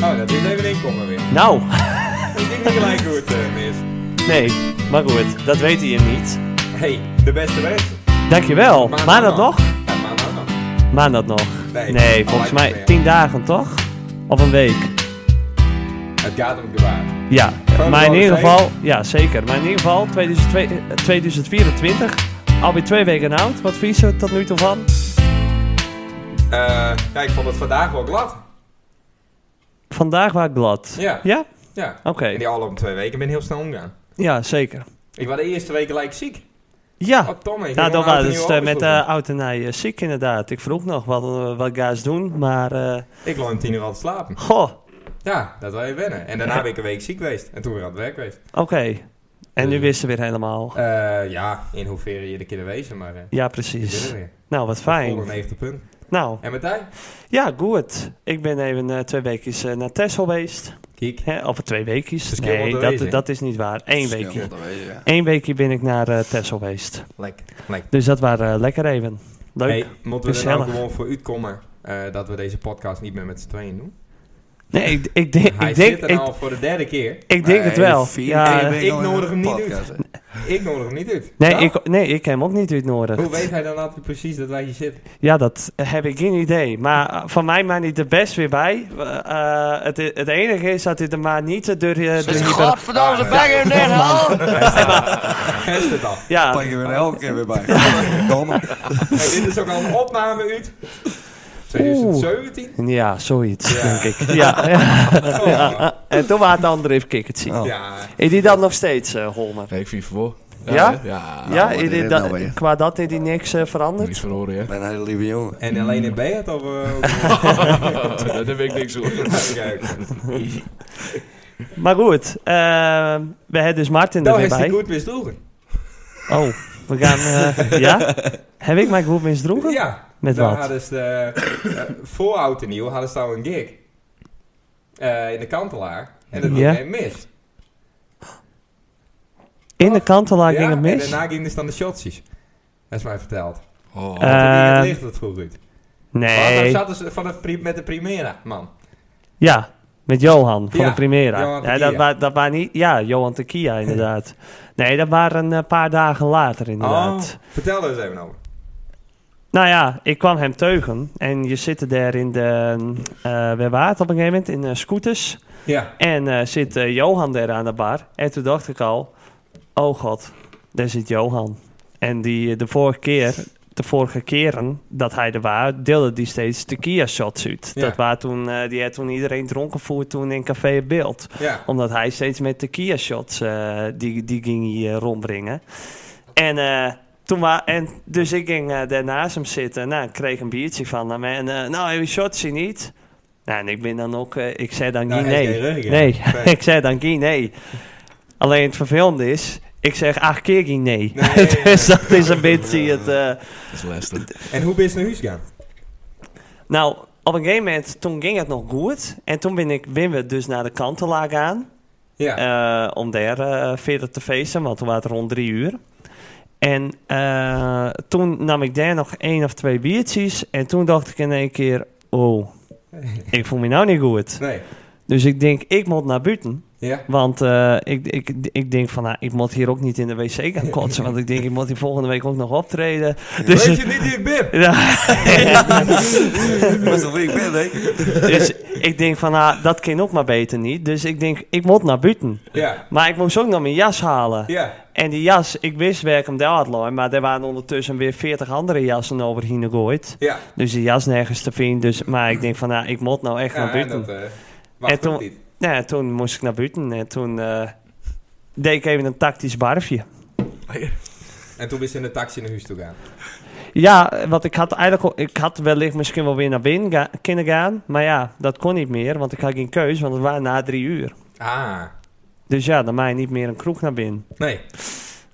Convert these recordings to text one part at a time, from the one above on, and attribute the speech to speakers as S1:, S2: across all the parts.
S1: Oh, dat is even een komma weer.
S2: Nou,
S1: Ik denk niet gelijk hoe het eh, is.
S2: nee, maar goed, dat weet hij hem niet.
S1: Hey, de beste beste.
S2: Dankjewel. Maandag nog?
S1: Ja, maandag nog.
S2: Maandag nog.
S1: Nee,
S2: Nee,
S1: al
S2: volgens
S1: lijkt
S2: mij
S1: het
S2: tien dagen toch? Of een week?
S1: Het gaat om de waarde.
S2: Ja,
S1: Gewoon
S2: maar in
S1: wel
S2: ieder
S1: eens
S2: geval, ja zeker. Maar in ieder geval 2002 eh, 2024, alweer twee weken oud. Wat vies er tot nu toe van?
S1: Eh, ja, ik vond het vandaag wel glad.
S2: Vandaag was ik glad.
S1: Ja.
S2: Ja?
S1: Ja.
S2: Oké.
S1: En die allen om twee weken ben heel snel omgaan.
S2: Ja, zeker.
S1: Ik was de eerste week gelijk ziek.
S2: Ja.
S1: Oh, Tom, ik heb
S2: Nou, dat
S1: een oud en
S2: was het
S1: nieuw
S2: eh,
S1: alles
S2: met
S1: goed.
S2: de oud en nij eh, ziek inderdaad. Ik vroeg nog wat, eh, wat ga's doen, maar eh,
S1: Ik lag om tien uur al te slapen.
S2: goh,
S1: Ja, dat wil je wennen. En daarna ben ik een week ziek geweest. En toen weer aan het werk geweest.
S2: oké. En nu
S1: Dus-
S2: wisten we weer helemaal.
S1: Eh, ja, in hoeverre je de keer wezen, maar eh,
S2: Ja,
S1: ik ben er
S2: precies.
S1: weer.
S2: Nou, wat
S1: Volle
S2: fijn.
S1: 90 punten.
S2: Nou,
S1: En Martijn?
S2: ja, goed. Ik ben even eh, twee weekjes eh, naar Texel geweest.
S1: Kiek.
S2: Hè, of twee weekjes.
S1: Verschil
S2: Nee,
S1: wat
S2: dat,
S1: wezen.
S2: dat is niet waar. Eén
S3: Verschil
S2: weekje.
S3: wat er wezen, ja.
S2: Eén weekje ben ik naar eh Texel geweest.
S1: Lekker. Lekker.
S2: Dus dat waren eh, lekker even. Leuk.
S1: Hey, moeten we er nou
S2: Gezellig.
S1: gewoon voor uitkomen eh, dat we deze podcast niet meer met z'n tweeën doen?
S2: Nee, ik, ik denk,
S1: Hij
S2: ik denk,
S1: zit er nou
S2: ik,
S1: al voor de derde keer.
S2: ik denk het
S3: Nee,
S2: wel.
S3: vier keer
S2: Ja, eh,
S3: ben
S1: ik
S3: al in
S1: nodig
S3: een
S1: hem niet
S3: podcast, hè.
S1: Ik nodig hem niet uit.
S2: nee,
S1: Nou,
S2: ik, nee, ik heb hem ook niet
S1: Hoe
S2: uitnodigd.
S1: weet hij dan altijd precies dat wij hier zitten?
S2: Ja, dat heb ik geen idee. Maar eh, van mij maar niet de best weer bij. Eh, eh, het, i- het enige is dat dit er maar niet eh, door... eh, door
S4: Zit
S2: hier-
S4: godverdomme zijn bek in
S1: Ah,
S4: dit hal?
S1: Hij zit het al.
S2: ja,
S3: Pak je weer elke keer weer bij. Godverdomme.
S1: Hey, dit is ook al een opname uit. 2017?
S2: ja,
S1: Ja.
S2: zoiets, denk ik. Ja, ja.
S1: Oh,
S2: En toen waren de andere even kikkertje.
S3: Oh.
S1: Ja.
S2: Is die dan nog steeds, eh, Holmer?
S5: Nee, ik vind het voor.
S2: Ja?
S5: hè? Ja.
S3: Nou,
S2: ja,
S3: wat
S2: is
S3: is
S2: dit
S3: dit
S2: dat-
S3: nou weer?
S2: qua dat is die niks eh, veranderd?
S5: Niks verloren, hè?
S3: Ik ben een hele lieve jongen.
S1: En alleen in bed of... eh, ook-
S5: Daar heb ik niks over.
S1: Kijk.
S2: Maar goed, eh, we hebben dus Martin er
S1: Nou
S2: weer
S1: is hij
S2: bij.
S1: goed misdroegen.
S2: Oh, we gaan. eh, ja? Heb ik mij goed misdroegen?
S1: Ja.
S2: Met
S1: daar
S2: wat?
S1: hadden ze de, eh, voor oud en nieuw hadden ze nou een gig. Eh, in de kantelaar. En dat ging
S2: Ja.
S1: hij mis.
S2: In de kantelaar ging het
S1: en
S2: mis.
S1: daarna gingen ze dan de shotsies. Dat is mij verteld.
S5: Oh,
S1: Toen
S2: Eh,
S1: ging het
S2: Ehm,
S1: licht het goed uit. Want dan
S2: Nee.
S1: zaten ze van de, pri- met de Primera, man.
S2: Ja, met Johan van
S1: Ja,
S2: de Primera.
S1: Johan
S2: ja, dat
S1: Tequila.
S2: waren dat waren niet. Ja, Johan Tequila inderdaad. nee, dat waren een eh, paar dagen later
S1: Oh,
S2: inderdaad.
S1: vertel er eens even over.
S2: Nou ja, ik kwam hem teugen. En je zit daar in de. eh waar waren het op een gegeven moment? In eh, scooters.
S1: Ja.
S2: En eh, zit eh, Johan daar aan de bar. En toen dacht ik al, oh god, daar zit Johan. En die eh, de vorige keer, de vorige keren dat hij er was, deelde die steeds de Kia shots uit.
S1: Ja.
S2: Dat waren toen, eh, die had toen iedereen dronken voerd toen in Café Beeld.
S1: Ja.
S2: Omdat hij steeds met tequila shots, eh, die, die ging hij eh, rondbrengen. En, eh, toen wa- en dus ik ging eh, daar naast hem zitten. Nou, ik kreeg een biertje van hem. En eh, nou, heb je shots hier niet? Nou, en ik ben dan ook, eh, ik zei dan
S1: Nou,
S2: niet
S1: hij is
S2: nee.
S1: geen ruggen, hè?
S2: Nee, ik zei dan geen nee. Alleen het vervelende is, ik zeg acht keer geen nee.
S1: Nee.
S2: dus dat is een beetje het... eh,
S5: dat is lastig.
S1: En hoe ben je naar huis gegaan?
S2: nou, op een gegeven moment, toen ging het nog goed. En toen ben, ik, ben we dus naar de kantelaar gaan.
S1: Ja.
S2: Eh, om daar eh, verder te feesten, want toen was het rond drie uur. En eh, toen nam ik daar nog één of twee biertjes. En toen dacht ik in één keer, oh, ik voel me nou niet goed.
S1: nee.
S2: Dus ik denk, ik moet naar buiten.
S1: Ja.
S2: Want eh, ik, ik, ik denk van, nou, ik moet hier ook niet in de wc gaan kotsen. Want ik denk, ik moet hier volgende week ook nog optreden. Dus,
S1: Weet je niet wie ik ben?
S2: ja,
S3: Best wel wie ik ben, denk ik.
S2: dus ik denk van, nou, dat kan ook maar beter niet. Dus ik denk, ik moet naar buiten.
S1: Ja.
S2: Maar ik moest ook nog mijn jas halen.
S1: Ja.
S2: En die jas, ik wist waar ik hem daar had lopen, maar er waren ondertussen weer 40 andere jassen overheen gegooid.
S1: Ja.
S2: Dus die jas nergens te vinden. Dus, maar ik denk van, nou, ik moet nou echt
S1: Ja,
S2: naar
S1: en
S2: buiten.
S1: dat eh wacht
S2: En toen-
S1: ook niet.
S2: Nou ja, toen moest ik naar buiten en toen eh, deed ik even een tactisch barfje.
S1: En toen ben je in de taxi naar huis toe gaan.
S2: Ja, want ik had eigenlijk al- ik had wellicht misschien wel weer naar binnen ga- kunnen gaan. Maar ja, dat kon niet meer, want ik had geen keus, want het waren na drie uur.
S1: Ah.
S2: Dus ja, dan mij niet meer een kroeg naar binnen.
S1: Nee.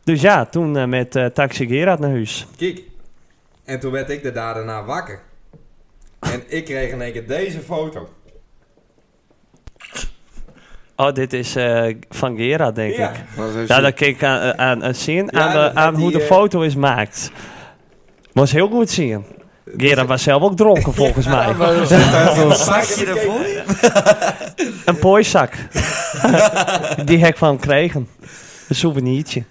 S2: Dus ja, toen eh, met eh, Taxi Gerard naar huis.
S1: Kijk. En toen werd ik de daar daarna wakker. En ik kreeg in één keer deze foto.
S2: Oh, dit is eh, van Gerard, denk
S1: Ja.
S2: ik.
S3: Dat is
S2: Ja, dat Nou, keek ik aan, aan, aan zien,
S1: Dus Ja,
S2: aan,
S1: dat eh,
S2: de,
S1: had
S2: aan hoe
S1: die,
S2: de
S1: eh,
S2: foto is maakt. Was heel goed zien. Gerard was zelf ook dronken volgens mij.
S3: Zo'n zakje
S1: zakje
S3: ervoor.
S1: ervoor?
S2: Een pooizak. Die heb ik van hem kregen. Een souvenirtje.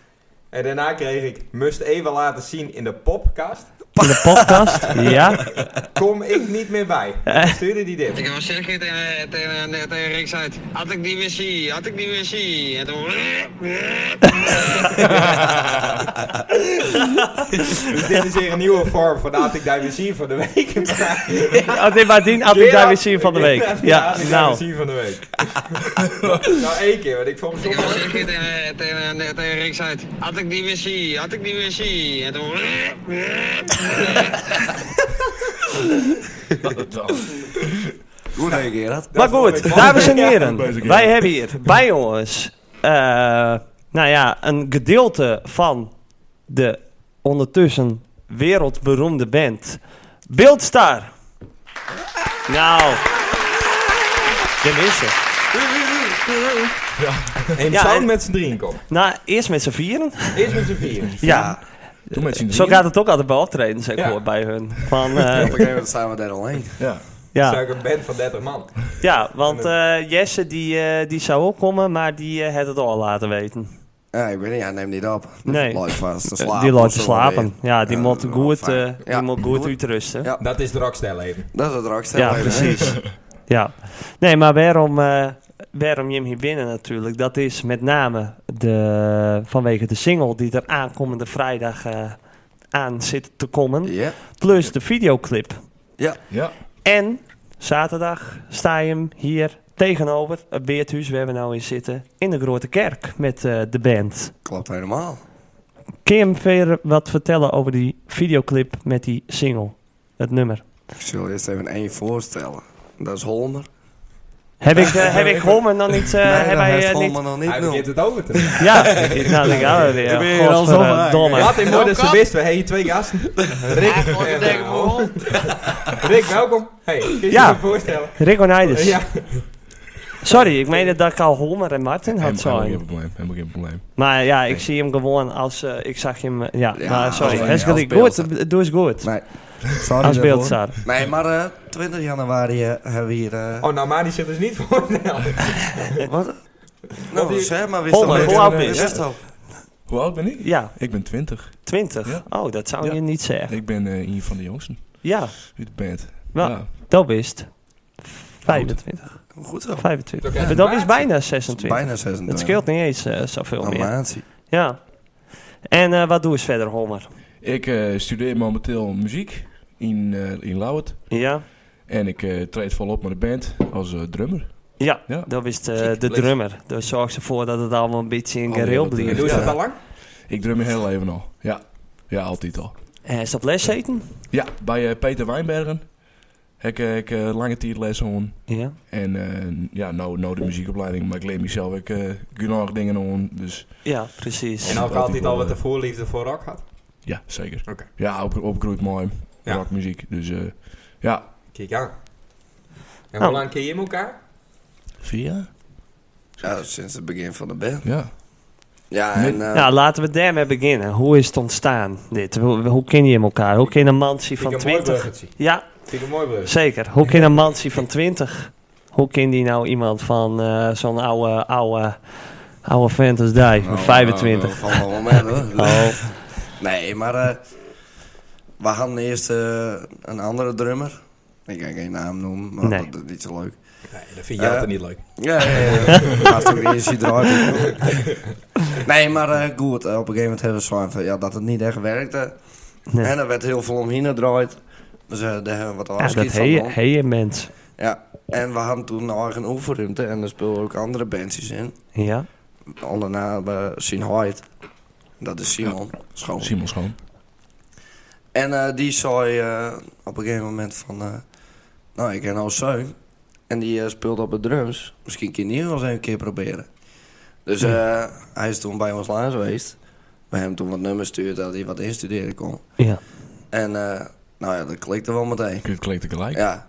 S1: En daarna kreeg ik, must even laten zien in de popcast,
S2: In de podcast. Ja.
S1: kom ik niet meer bij.
S2: Eh.
S1: Stuurde die dit.
S4: Ik was zeker tegen, tegen, tegen, tegen Riks uit. Had ik die missie, had ik die missie. En toen.
S1: Dus dit is weer een nieuwe vorm van had ik daar weer zien van de week.
S2: Oh, nee, maar die had ik daar weer zien van de week. Ja,
S1: had ik daar weer
S2: nou.
S1: zien van de week. nou, één keer, want ik vond het
S4: Ik
S1: toch
S4: was
S1: wel-
S4: zeker tegen, tegen, tegen, tegen Riks uit. Had ik die missie, had ik die missie. En toen.
S3: Goed, hè, Gerard?
S2: Maar goed, dames en heren.
S5: Bezig,
S2: Wij hebben hier bij ons... eh, nou ja, een gedeelte van de ondertussen wereldberoemde band Beeldstar. Nou. Tenminste.
S1: En
S2: Ja,
S1: zo'n
S2: en-
S1: met z'n drieën komt.
S2: Nou, eerst met z'n vieren.
S1: Eerst met z'n vieren.
S2: Ja,
S5: Toen met z'n
S2: zo
S5: drieën.
S2: gaat het ook altijd bij optredens, ik
S1: Ja.
S2: hoor bij hun. Van,
S3: Op een
S2: eh,
S3: gegeven moment staan we daar alleen.
S5: Ja.
S1: Zou
S2: ja.
S1: ik een band van 30 man.
S2: ja, want eh, Jesse die, eh, die zou ook komen, maar die eh, had het al laten weten.
S3: Ja, ik weet niet, hij neemt niet op.
S2: Nee.
S3: Lijkt vast te
S2: Eh,
S3: slapen.
S2: die laat
S3: of
S2: te
S3: zo
S2: slapen.
S3: weer.
S2: Ja, die
S3: Ja,
S2: moet
S3: dat is wel
S2: goed, eh,
S3: fijn.
S2: die
S3: Ja.
S2: moet goed uitrusten. Ja,
S3: Ja.
S1: Dat is de rockstel even.
S3: Dat is het raakstel.
S2: Ja, precies. Nee, maar waarom, eh waarom je hem hier binnen natuurlijk? Dat is met name de, vanwege de single die er aankomende vrijdag eh, aan zit te komen.
S3: Ja.
S2: Plus de videoclip.
S3: Ja.
S5: Ja.
S2: En zaterdag sta je hem hier tegenover het Beerthuis, waar we nou in zitten, in de Grote Kerk met eh, de band.
S3: Klopt helemaal.
S2: Kun je hem verder wat vertellen over die videoclip met die single, het nummer?
S3: Ik zal eerst even één voorstellen. Dat is Holmer.
S2: Heb ik, eh, heb ik Holman dan niet? eh heb
S3: dat
S2: hij,
S3: heeft
S2: eh, niet?
S3: Holmer nog
S1: Hij
S3: niet
S1: begint
S3: nul.
S1: het over te doen.
S2: Ja, nou, dan gaan we
S3: Ik ben
S2: weer.
S3: hier al zomaar uit.
S2: Godverdomme.
S1: Wat in
S4: Welkom.
S1: Moorden ze best. We hebben twee gasten. Rick
S4: Ah, gewoon
S1: en
S4: tegen
S1: Raoul.
S4: me
S1: Rick, welkom. Hey, kun je
S2: Ja.
S1: je voorstellen?
S2: Rico Nijders.
S1: Ja.
S2: Sorry, ik meende dat ik al Holmer en Martin had
S5: Helemaal
S2: zijn.
S5: geen probleem. Helemaal geen probleem.
S2: Maar ja, ik zie hem gewoon als... eh, ik zag hem... eh, Ja,
S3: Ja,
S2: maar
S3: als
S2: sorry.
S3: een-
S2: Hij is
S3: als
S2: gelijk. goed.
S3: beeldster.
S2: eh, Doe eens goed.
S3: Nee. Sorry
S2: Als
S3: daarvoor.
S2: beeldstaar.
S3: Nee, maar eh, 20 januari eh, hebben we hier... eh,
S1: Oh, nou, maar die zit dus niet voorstellen.
S3: wat?
S1: Op
S3: Nou,
S1: die-
S3: zeg maar. wist
S2: Holmer,
S3: al
S2: hoe
S3: net-
S2: oud is
S3: wist
S2: het?
S3: al.
S5: Hoe oud ben ik?
S2: Ja,
S5: Ik ben 20.
S2: 20.
S5: Ja.
S2: Oh, dat zou
S5: Ja.
S2: je niet zeggen.
S5: Ik ben eh, een van de jongsten
S2: Ja,
S5: uit de band.
S2: Nou,
S5: Ja.
S2: dat wist. 25.
S3: Goed zo.
S2: 25.
S1: Oké.
S2: Maar dat is
S1: Maat.
S2: bijna 26.
S3: Bijna 26.
S2: Dat scheelt niet eens eh, zoveel meer.
S3: Animatie.
S2: Ja. En eh, wat doe eens verder, Homer?
S5: Ik eh, studeer momenteel muziek in, eh in Lauwert.
S2: Ja?
S5: En ik eh, treed volop met de band als eh, drummer.
S2: Ja,
S5: Ja.
S2: dat wist eh,
S1: Ziek,
S2: de
S1: leuk.
S2: drummer. Dus zorg ervoor dat het allemaal een beetje in
S5: Oh,
S2: gareel
S5: ja, dat, eh,
S1: En
S2: blijft.
S1: doe je
S5: Ja.
S1: dat al lang?
S5: Ik drum mijn hele leven al. Ja, ja altijd al.
S2: Eh, is dat les eten?
S5: Ja, bij eh, Peter Wijnbergen heb ik, eh, ik eh, lange tijd les aan.
S2: Ja.
S5: En eh, ja, nou, nou de muziekopleiding, maar ik leer mezelf ook eh, genoeg dingen aan. Dus
S2: Ja, precies.
S1: En
S5: Ja.
S1: ook
S5: Dat
S1: altijd
S5: ik wel,
S1: al wat de
S5: eh,
S1: voorliefde voor rock had.
S5: ja, zeker.
S1: Oké.
S5: Ja, op, opgegroeid mooi.
S1: Ja.
S5: Rockmuziek. Dus eh, ja.
S1: Kijk aan. En
S2: Nou.
S1: hoe lang ken je elkaar?
S5: Via?
S3: Ja, sinds het begin van de band.
S5: Ja.
S3: Ja,
S5: Nee.
S3: en... eh,
S2: Nou, laten we daarmee beginnen. Hoe is het ontstaan, dit? Hoe, hoe ken je elkaar? Hoe ken een mansie
S1: Vind
S2: van
S1: ik een mooi
S2: 20?
S1: bruggetje.
S2: Ja,
S1: Vind ik een mooi bruggetje.
S2: zeker. Hoe ken een mansie van 20? Hoe ken die nou iemand van eh, zo'n oude, oude, oude vent als die, van
S3: nou,
S2: 25?
S3: nou, Van moment hoor.
S2: Oh,
S3: Nee, maar eh, we hadden eerst eh, een andere drummer. Ik ga geen naam noemen, maar
S2: Nee.
S3: dat is niet zo leuk.
S1: Nee, dat vind jij
S3: Eh,
S1: altijd niet leuk.
S3: Ja, ja, ja. Maar toen is hij eruit. Nee, maar eh, goed, eh, op een gegeven moment hebben we zwaar van ja, dat het niet echt werkte.
S2: Nee.
S3: En er werd heel veel omheen gedraaid. Dus eh, daar hebben we wat
S2: ja, dat
S3: afschiet van.
S2: heet
S3: dan.
S2: heet je mens.
S3: Ja, en we hadden toen een eigen oefenruimte en er speelden ook andere bandjes in.
S2: Ja,
S3: Onder naam eh, Sien Hoyt. Dat is Simon. Schoon.
S5: Simon Schoon.
S3: En eh, die zei eh, op een gegeven moment van... eh, nou, ik ken al Zeun. En die eh, speelde op de drums. Misschien kun je die wel eens een keer proberen. Dus eh, hij is toen bij ons langs geweest. We hebben toen wat nummers stuurd dat hij wat instuderen kon.
S2: ja.
S3: En eh, nou ja, dat klikte wel meteen.
S5: Ik klinkt tegelijk.
S3: Ja,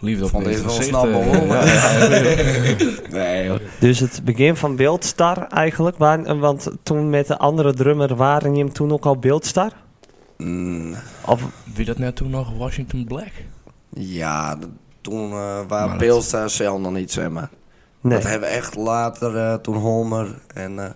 S5: Liefde op
S3: vond
S5: het
S3: deze wel
S5: eerste
S3: snel
S5: gezicht, eh,
S3: begonnen.
S5: ja.
S3: nee hoor.
S2: Dus het begin van Beeldstar eigenlijk, waar, want toen met de andere drummer waren je hem toen ook al Beeldstar?
S3: Mm,
S2: Of,
S5: Wie dat net toen nog? Washington Black?
S3: ja, dat- toen eh
S5: Maar
S3: waren
S5: dat-
S3: Pils daar zelf nog niet, zeg maar.
S2: nee.
S3: Dat hebben we echt later, eh, toen Holmer en eh,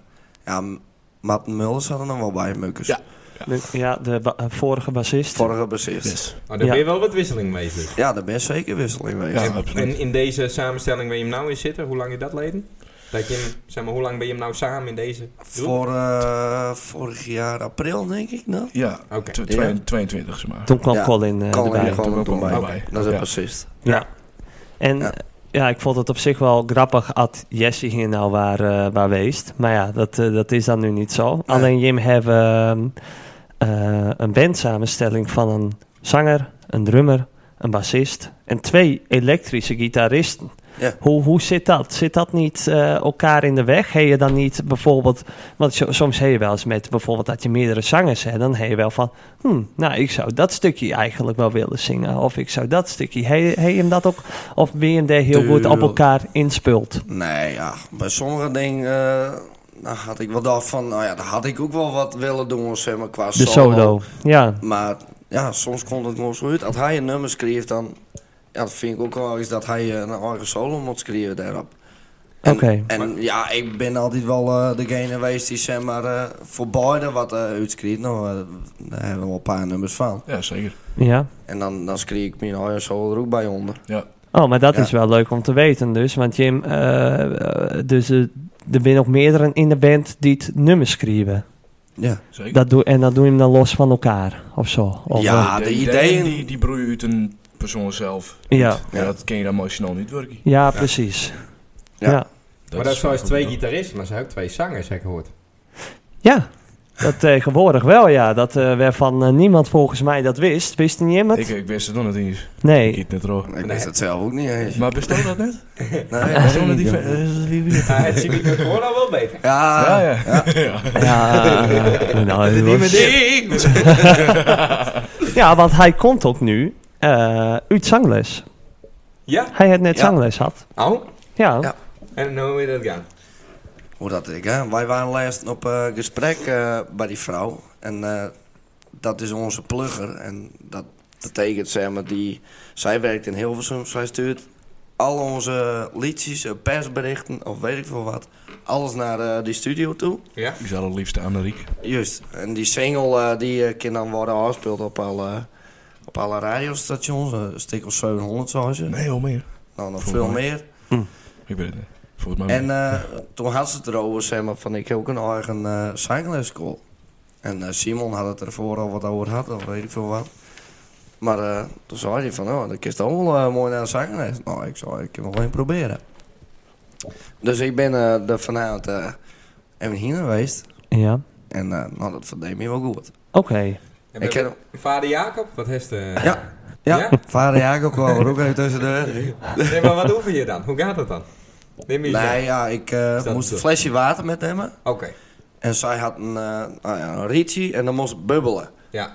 S3: ja, M- Matt Mullers hadden nog wel bij Mukkers.
S5: Ja.
S2: De- ja, de ba- eh, vorige bassist.
S3: Vorige bassist.
S5: Yes.
S1: Maar daar
S2: Ja.
S1: ben oh, je wel wat wisseling mee. dus.
S3: Ja, daar ben je zeker wisseling mee.
S5: Ja,
S3: Ja.
S5: absoluut.
S1: En in deze samenstelling waar je hem nou in zitten, hoe lang je dat leden? Dat je hem, zeg maar, hoe lang ben je hem nou samen in deze? groep?
S3: Voor eh, vorig jaar april, denk ik nou. nog.
S5: Ja,
S1: Oké.
S5: tw-
S3: Ja.
S5: twee- 22 zeg maar.
S2: Toen kwam
S3: Ja,
S2: Colin eh,
S3: Colin
S2: erbij.
S3: er gewoon
S5: Toen
S3: toen
S5: ook
S3: bij.
S5: al
S1: bij.
S3: Dat is een
S5: Ja.
S3: bassist.
S2: Ja. En eh,
S3: Ja.
S2: ja. ik vond het op zich wel grappig at Jesse hier nou waar, eh, waar weest. Maar ja, dat, eh, dat is dan nu niet zo. Alleen Jim hebben ehm, eh, een bandsamenstelling van een zanger, een drummer, een bassist en twee elektrische gitaristen.
S3: Ja.
S2: Hoe, hoe zit dat? Zit dat niet eh, elkaar in de weg? Heb je dan niet bijvoorbeeld... Want so- soms heb je wel eens met bijvoorbeeld dat je meerdere zangers hebt. Dan heb je wel van... Hmm, nou, ik zou dat stukje eigenlijk wel willen zingen. Of ik zou dat stukje. Hey, hey hem dat ook? Of ben je hem daar heel goed op
S3: Tuurlijk.
S2: elkaar inspult?
S3: Nee, ja, bij sommige dingen eh, nou, had ik wel dacht van, nou ja, daar had ik ook wel wat willen doen, zeg maar, qua
S2: De solo. Ja,
S3: Maar ja, soms komt het gewoon zo uit. Als hij een nummer schreef, dan ja, dat vind ik ook wel eens dat hij eh, een eigen solo moet schrijven daarop. En,
S2: Oké.
S3: en ja, ik ben altijd wel eh, degene geweest die zeg maar eh, voor beide wat eh uitschreef. Nou, eh, daar hebben we wel een paar nummers van.
S5: Ja, zeker.
S2: ja.
S3: En dan, dan schreef ik mijn eigen solo er ook bij onder.
S5: Ja.
S2: Oh, maar dat
S3: Ja.
S2: is wel leuk om te weten dus. Want Jim, eh, eh, dus, eh, er zijn nog meerdere in de band die het nummers schrijven.
S3: Ja,
S5: Zeker.
S2: Dat doe, en dat doe je hem dan los van elkaar of zo. Of,
S3: Ja.
S2: eh,
S3: Ah, de ideeën-
S5: die, die broeien uit een persoon zelf.
S2: Ja.
S5: Ja, dat ken je dan emotioneel niet werken.
S2: ja, precies.
S3: Ja.
S2: Ja. Ja.
S1: maar dat
S5: is
S1: is zoals
S5: wel
S1: twee
S5: goed, hoor.
S1: gitaristen, maar ze hebben ook twee zangers, heb ik gehoord.
S2: Dat tegenwoordig wel, ja. Dat eh, waarvan eh, niemand volgens mij dat wist. Wist niemand?
S5: Ik, ik wist het nog niet eens. Ik
S2: nee.
S5: eet net rood.
S3: ik wist het zelf ook niet eens.
S5: Maar bestaat dat net?
S3: Nee.
S5: Bestaat dat die ver- eh, wie- wie-
S1: Ja, Nou, het zie ik het gewoon al wel beter.
S5: Ja,
S3: Ah, Ja,
S5: ja. ja.
S2: Ja, nou, het was-
S1: Ding!
S2: Ja, want hij komt ook nu eh uit zangles.
S1: Ja?
S2: Hij had net
S3: Ja.
S2: zangles had.
S1: Oh?
S2: Ja.
S3: Ja.
S1: En hoe wil je dat gaan?
S3: hoe dat ik, hè? Wij waren laatst op eh, gesprek eh, bij die vrouw. En eh, dat is onze plugger. En dat betekent, zeg maar, die, zij werkt in Hilversum. Zij stuurt al onze liedjes, eh, persberichten of weet ik veel wat. Alles naar eh, die studio toe.
S1: Ja?
S5: Ik zou het liefst aan de Riek.
S3: Juist. En die single eh, die eh, kan dan worden afgespeeld op alle, op alle radiostations. eh, Een stuk of 700 zoals je.
S5: Nee, al meer.
S3: Nou, nog
S5: Volgens
S3: veel
S5: mij.
S3: meer.
S5: Ik weet het niet. Volgens mij
S3: En eh, toen had ze het erover, zeg maar, van ik heb ook een eigen eh zanglesschool. En eh, Simon had het ervoor al wat over gehad, of weet ik veel wat. Maar eh, toen zei hij van, oh, dat is toch wel eh, mooi naar de zangles. Nou, ik zei, ik kan wel even proberen. Dus ik ben eh er vanavond eh, even hier geweest.
S2: Ja.
S3: En eh, nou, dat verdeed me wel goed.
S2: Oké.
S1: En
S3: Ik ken hem.
S1: Vader Jacob? Wat heeft eh, de...
S3: Ja. Ja,
S1: Ja?
S3: vader Jacob kwam er ook even tussendoor.
S1: Nee, maar wat oefen je dan? Hoe gaat dat dan? Neem je eens
S3: Nee,
S1: mee.
S3: ja, ik eh,
S1: dat
S3: moest een
S1: zo?
S3: flesje water met hem.
S1: Oké.
S3: En zij had een, eh nou ja, een rietje en dan moest het bubbelen.
S1: Ja.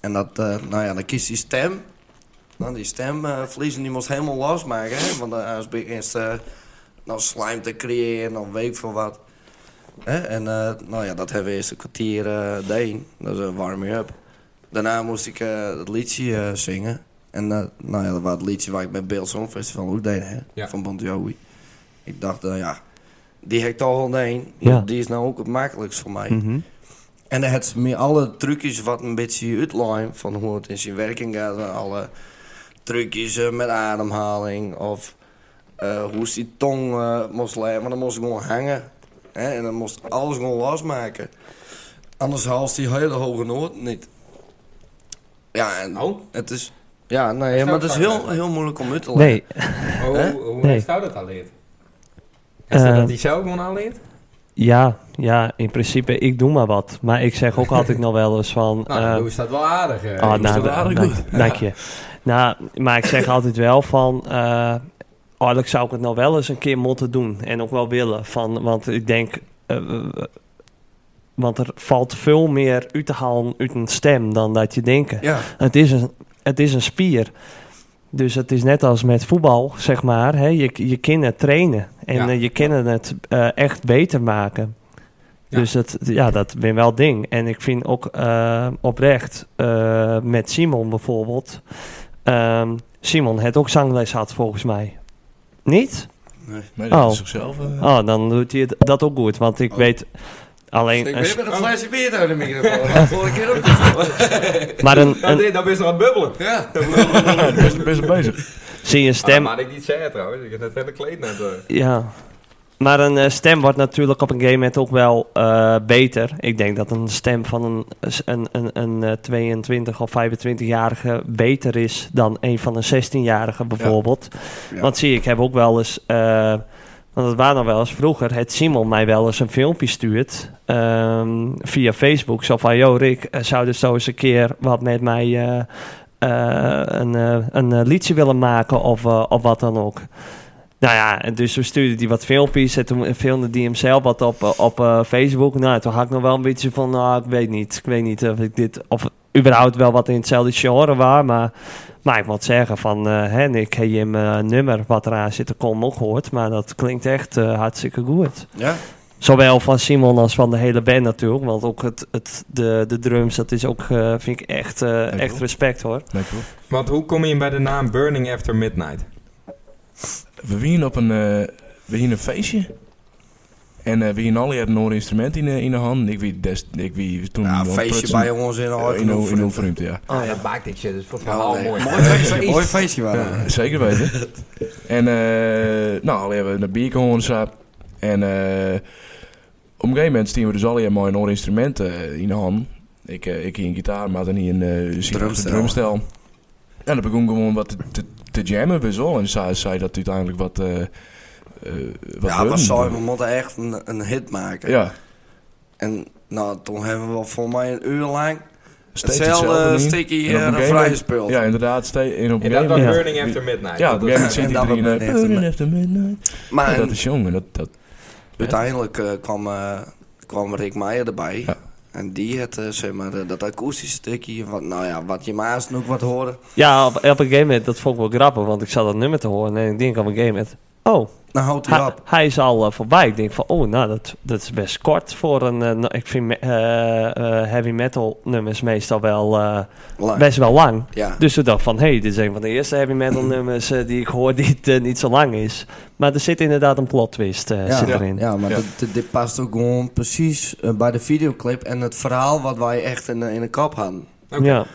S3: En dat, eh, nou ja, dan kiest die stem. Nou, die stemvliezen die moest helemaal losmaken. Hè? Want eh, als begint eh nou slijm te creëren of weet ik veel wat. Hè? En eh, nou ja, dat hebben we eerst een kwartier eh deen. Dat is een warming up. Daarna moest ik eh, het liedje eh, zingen. En eh, nou ja, dat was het liedje waar ik met Beeld Songfestival ook deed, hè?
S1: Ja.
S3: Van Bon Jovi. Ik dacht, eh, ja, die heb ik toch al deen.
S2: Ja.
S3: Die is nou ook het makkelijkst voor mij.
S2: Mhm.
S3: En dan had ze meer alle trucjes wat een beetje uitlijn van hoe het in zijn werking gaat. En Alle trucjes eh, met ademhaling of eh, hoe ze die tong eh, moest leiden. Maar dan moest ze gewoon hangen. Hè? En dan moest alles gewoon losmaken. Anders haalt ze die hele hoge noot niet. Ja, en
S1: Oh?
S3: het is... Ja, nee,
S1: zou
S3: maar
S1: ik
S3: het is
S1: vaak
S3: heel,
S1: doen.
S3: heel moeilijk om uit te leggen.
S2: Nee.
S1: Oh, hoe- hoe
S2: Nee.
S1: heeft jou dat al leert? Heeft hij
S2: Eh.
S1: dat hij zelf gewoon al leert?
S2: Ja, ja, in principe, ik doe maar wat. Maar ik zeg ook altijd nog wel eens van...
S1: Nou,
S2: eh,
S1: hoe is dat wel aardig? eh.
S2: Ah,
S5: moest
S2: nou,
S5: dat aardig
S2: dank-
S5: doen.
S2: Dank je. Nou, maar ik zeg altijd wel van... eh eigenlijk zou ik het nou wel eens een keer moeten doen. En ook wel willen. Van, want ik denk... eh, eh, want er valt veel meer uit te halen uit een stem dan dat je denkt.
S3: Ja,
S2: Het is een, het is een spier. Dus het is net als met voetbal, zeg maar. Hè? Je, je kan het trainen en
S1: Ja.
S2: eh, je kan het eh, echt beter maken.
S1: Ja.
S2: Dus dat, ja, dat ben wel ding. En ik vind ook eh, oprecht eh, met Simon bijvoorbeeld. ehm, Simon had ook zangles had volgens mij. Niet?
S5: Nee, dat
S2: Oh.
S5: is zichzelf. eh,
S2: Oh, dan doet hij het- dat ook goed. Want ik
S3: Oh.
S2: weet alleen.
S3: Ik
S2: een
S3: ben met een flesje bier uit de microfoon. Vorige keer ook.
S2: s- maar een,
S1: Nou,
S2: een,
S1: dit, dan ben je aan het bubbelen.
S3: Ja.
S5: best, best bezig.
S2: zie je
S1: Stem.
S2: stem.
S1: maar ik niet zeggen trouwens. Ik heb net hele kleed net. eh.
S2: Ja. Maar een eh, stem wordt natuurlijk op een game moment ook wel eh, beter. Ik denk dat een stem van een, een, een, een eh, 22 of 25-jarige beter is dan een van een 16-jarige bijvoorbeeld.
S3: Ja.
S2: Want zie, ik heb ook wel eens. eh, want het waren nog wel eens vroeger. Het Simon mij wel eens een filmpje stuurt. ehm, via Facebook. Zo van: Yo, Rick, eh, zou je zo eens een keer wat met mij. eh, eh, een, eh, een eh, liedje willen maken of, eh, of wat dan ook. Nou ja, en dus we stuurden die wat filmpjes en toen filmde die hem zelf wat op, eh, op eh, Facebook. Nou, toen had ik nog wel een beetje van, nou, ik weet niet, ik weet niet of ik dit, of überhaupt wel wat in hetzelfde genre was, maar, maar ik moet zeggen van, eh hè, ik heb je mijn nummer wat eraan zit te komen ook gehoord, maar dat klinkt echt eh, hartstikke goed.
S3: Ja.
S2: Zowel van Simon als van de hele band natuurlijk, want ook het, het, de, de drums, dat is ook, eh, vind ik echt, eh, echt
S5: hoor.
S2: respect hoor.
S5: Nee, toch?
S1: Want hoe kom je bij de naam Burning After Midnight?
S5: We wien op een, eh, we wien een feestje. En eh we wien alle hadden een instrument in, de- in de hand. Ik wie, des, ik wie toen...
S3: Ja,
S5: aan het
S3: Nou, feestje
S5: prutsen-
S3: bij ons in de
S5: eh,
S3: hart.
S5: in Ho- in Hoofdvreemd, ja.
S1: Oh, dat maakt ik shit. Dat is voor het
S3: Oh,
S1: verhaal
S3: Ah, nee.
S1: mooi.
S3: Mooi feestje, mooi feestje waren. we.
S5: Eh, Zeker weten. en eh nou, alle hebben we naar bier gehoord. sap. En eh op een gegeven moment stien we dus alle hebben een oor instrumenten eh, in de hand. Ik, eh, ik hier een gitaar, maar dan hier een eh, ziet ook een
S3: Drumstel.
S5: drumstel. En dan begon ik gewoon wat te, te, te jammen bij zo. En zij zei dat uiteindelijk wat... eh eh, wat
S3: Ja, was
S5: wilden.
S3: zo, we moeten echt een, een hit maken.
S5: Ja,
S3: En nou, toen hebben we wel voor mij een uur lang
S5: steeds
S3: hetzelfde
S5: hetzelfde
S3: sticky
S5: En op een
S3: uh,
S5: gegeven
S3: vrij
S5: moment-
S3: gespeeld.
S5: Ja, inderdaad. Steeds, en op
S1: En
S5: een
S1: dat
S5: gegeven
S1: was
S5: moment...
S1: Burning After Midnight.
S5: Ja, op een gegeven moment
S1: dat-
S5: ziet
S3: dat-
S5: iedereen...
S3: dat-
S5: eh,
S3: dat-
S5: Burning after midnight.
S3: maar
S5: Ja, Dat is jongen, dat... dat
S3: uiteindelijk eh, kwam, eh, kwam Rick Meijer erbij.
S5: Ja.
S3: En die had eh, zeg maar, eh, dat akoestische stukje, wat, nou ja, wat je maas ook wat hoorde.
S2: Ja, op, op een gegeven moment, dat vond ik wel grappig, want ik zat dat nummer te horen en ik denk op een gegeven moment, oh,
S3: Nou houdt hij
S2: hij,
S3: op.
S2: hij is al eh, voorbij. Ik denk van, oh, nou, dat, dat is best kort voor een, eh, nou, ik vind me- eh, eh, heavy metal nummers meestal wel eh,
S3: Lang.
S2: best wel lang.
S3: Ja.
S2: Dus toen dacht ik van, hé, hey, dit is een van de eerste heavy metal nummers eh, die ik hoor die het, eh, niet zo lang is. Maar er zit inderdaad een plot twist eh,
S3: ja,
S2: zit erin.
S3: ja, maar
S5: Ja.
S3: Dit, dit- dit past ook gewoon precies eh, bij de videoclip en het verhaal wat wij echt in, de- in de kop hadden.
S1: Oké.
S2: Ja,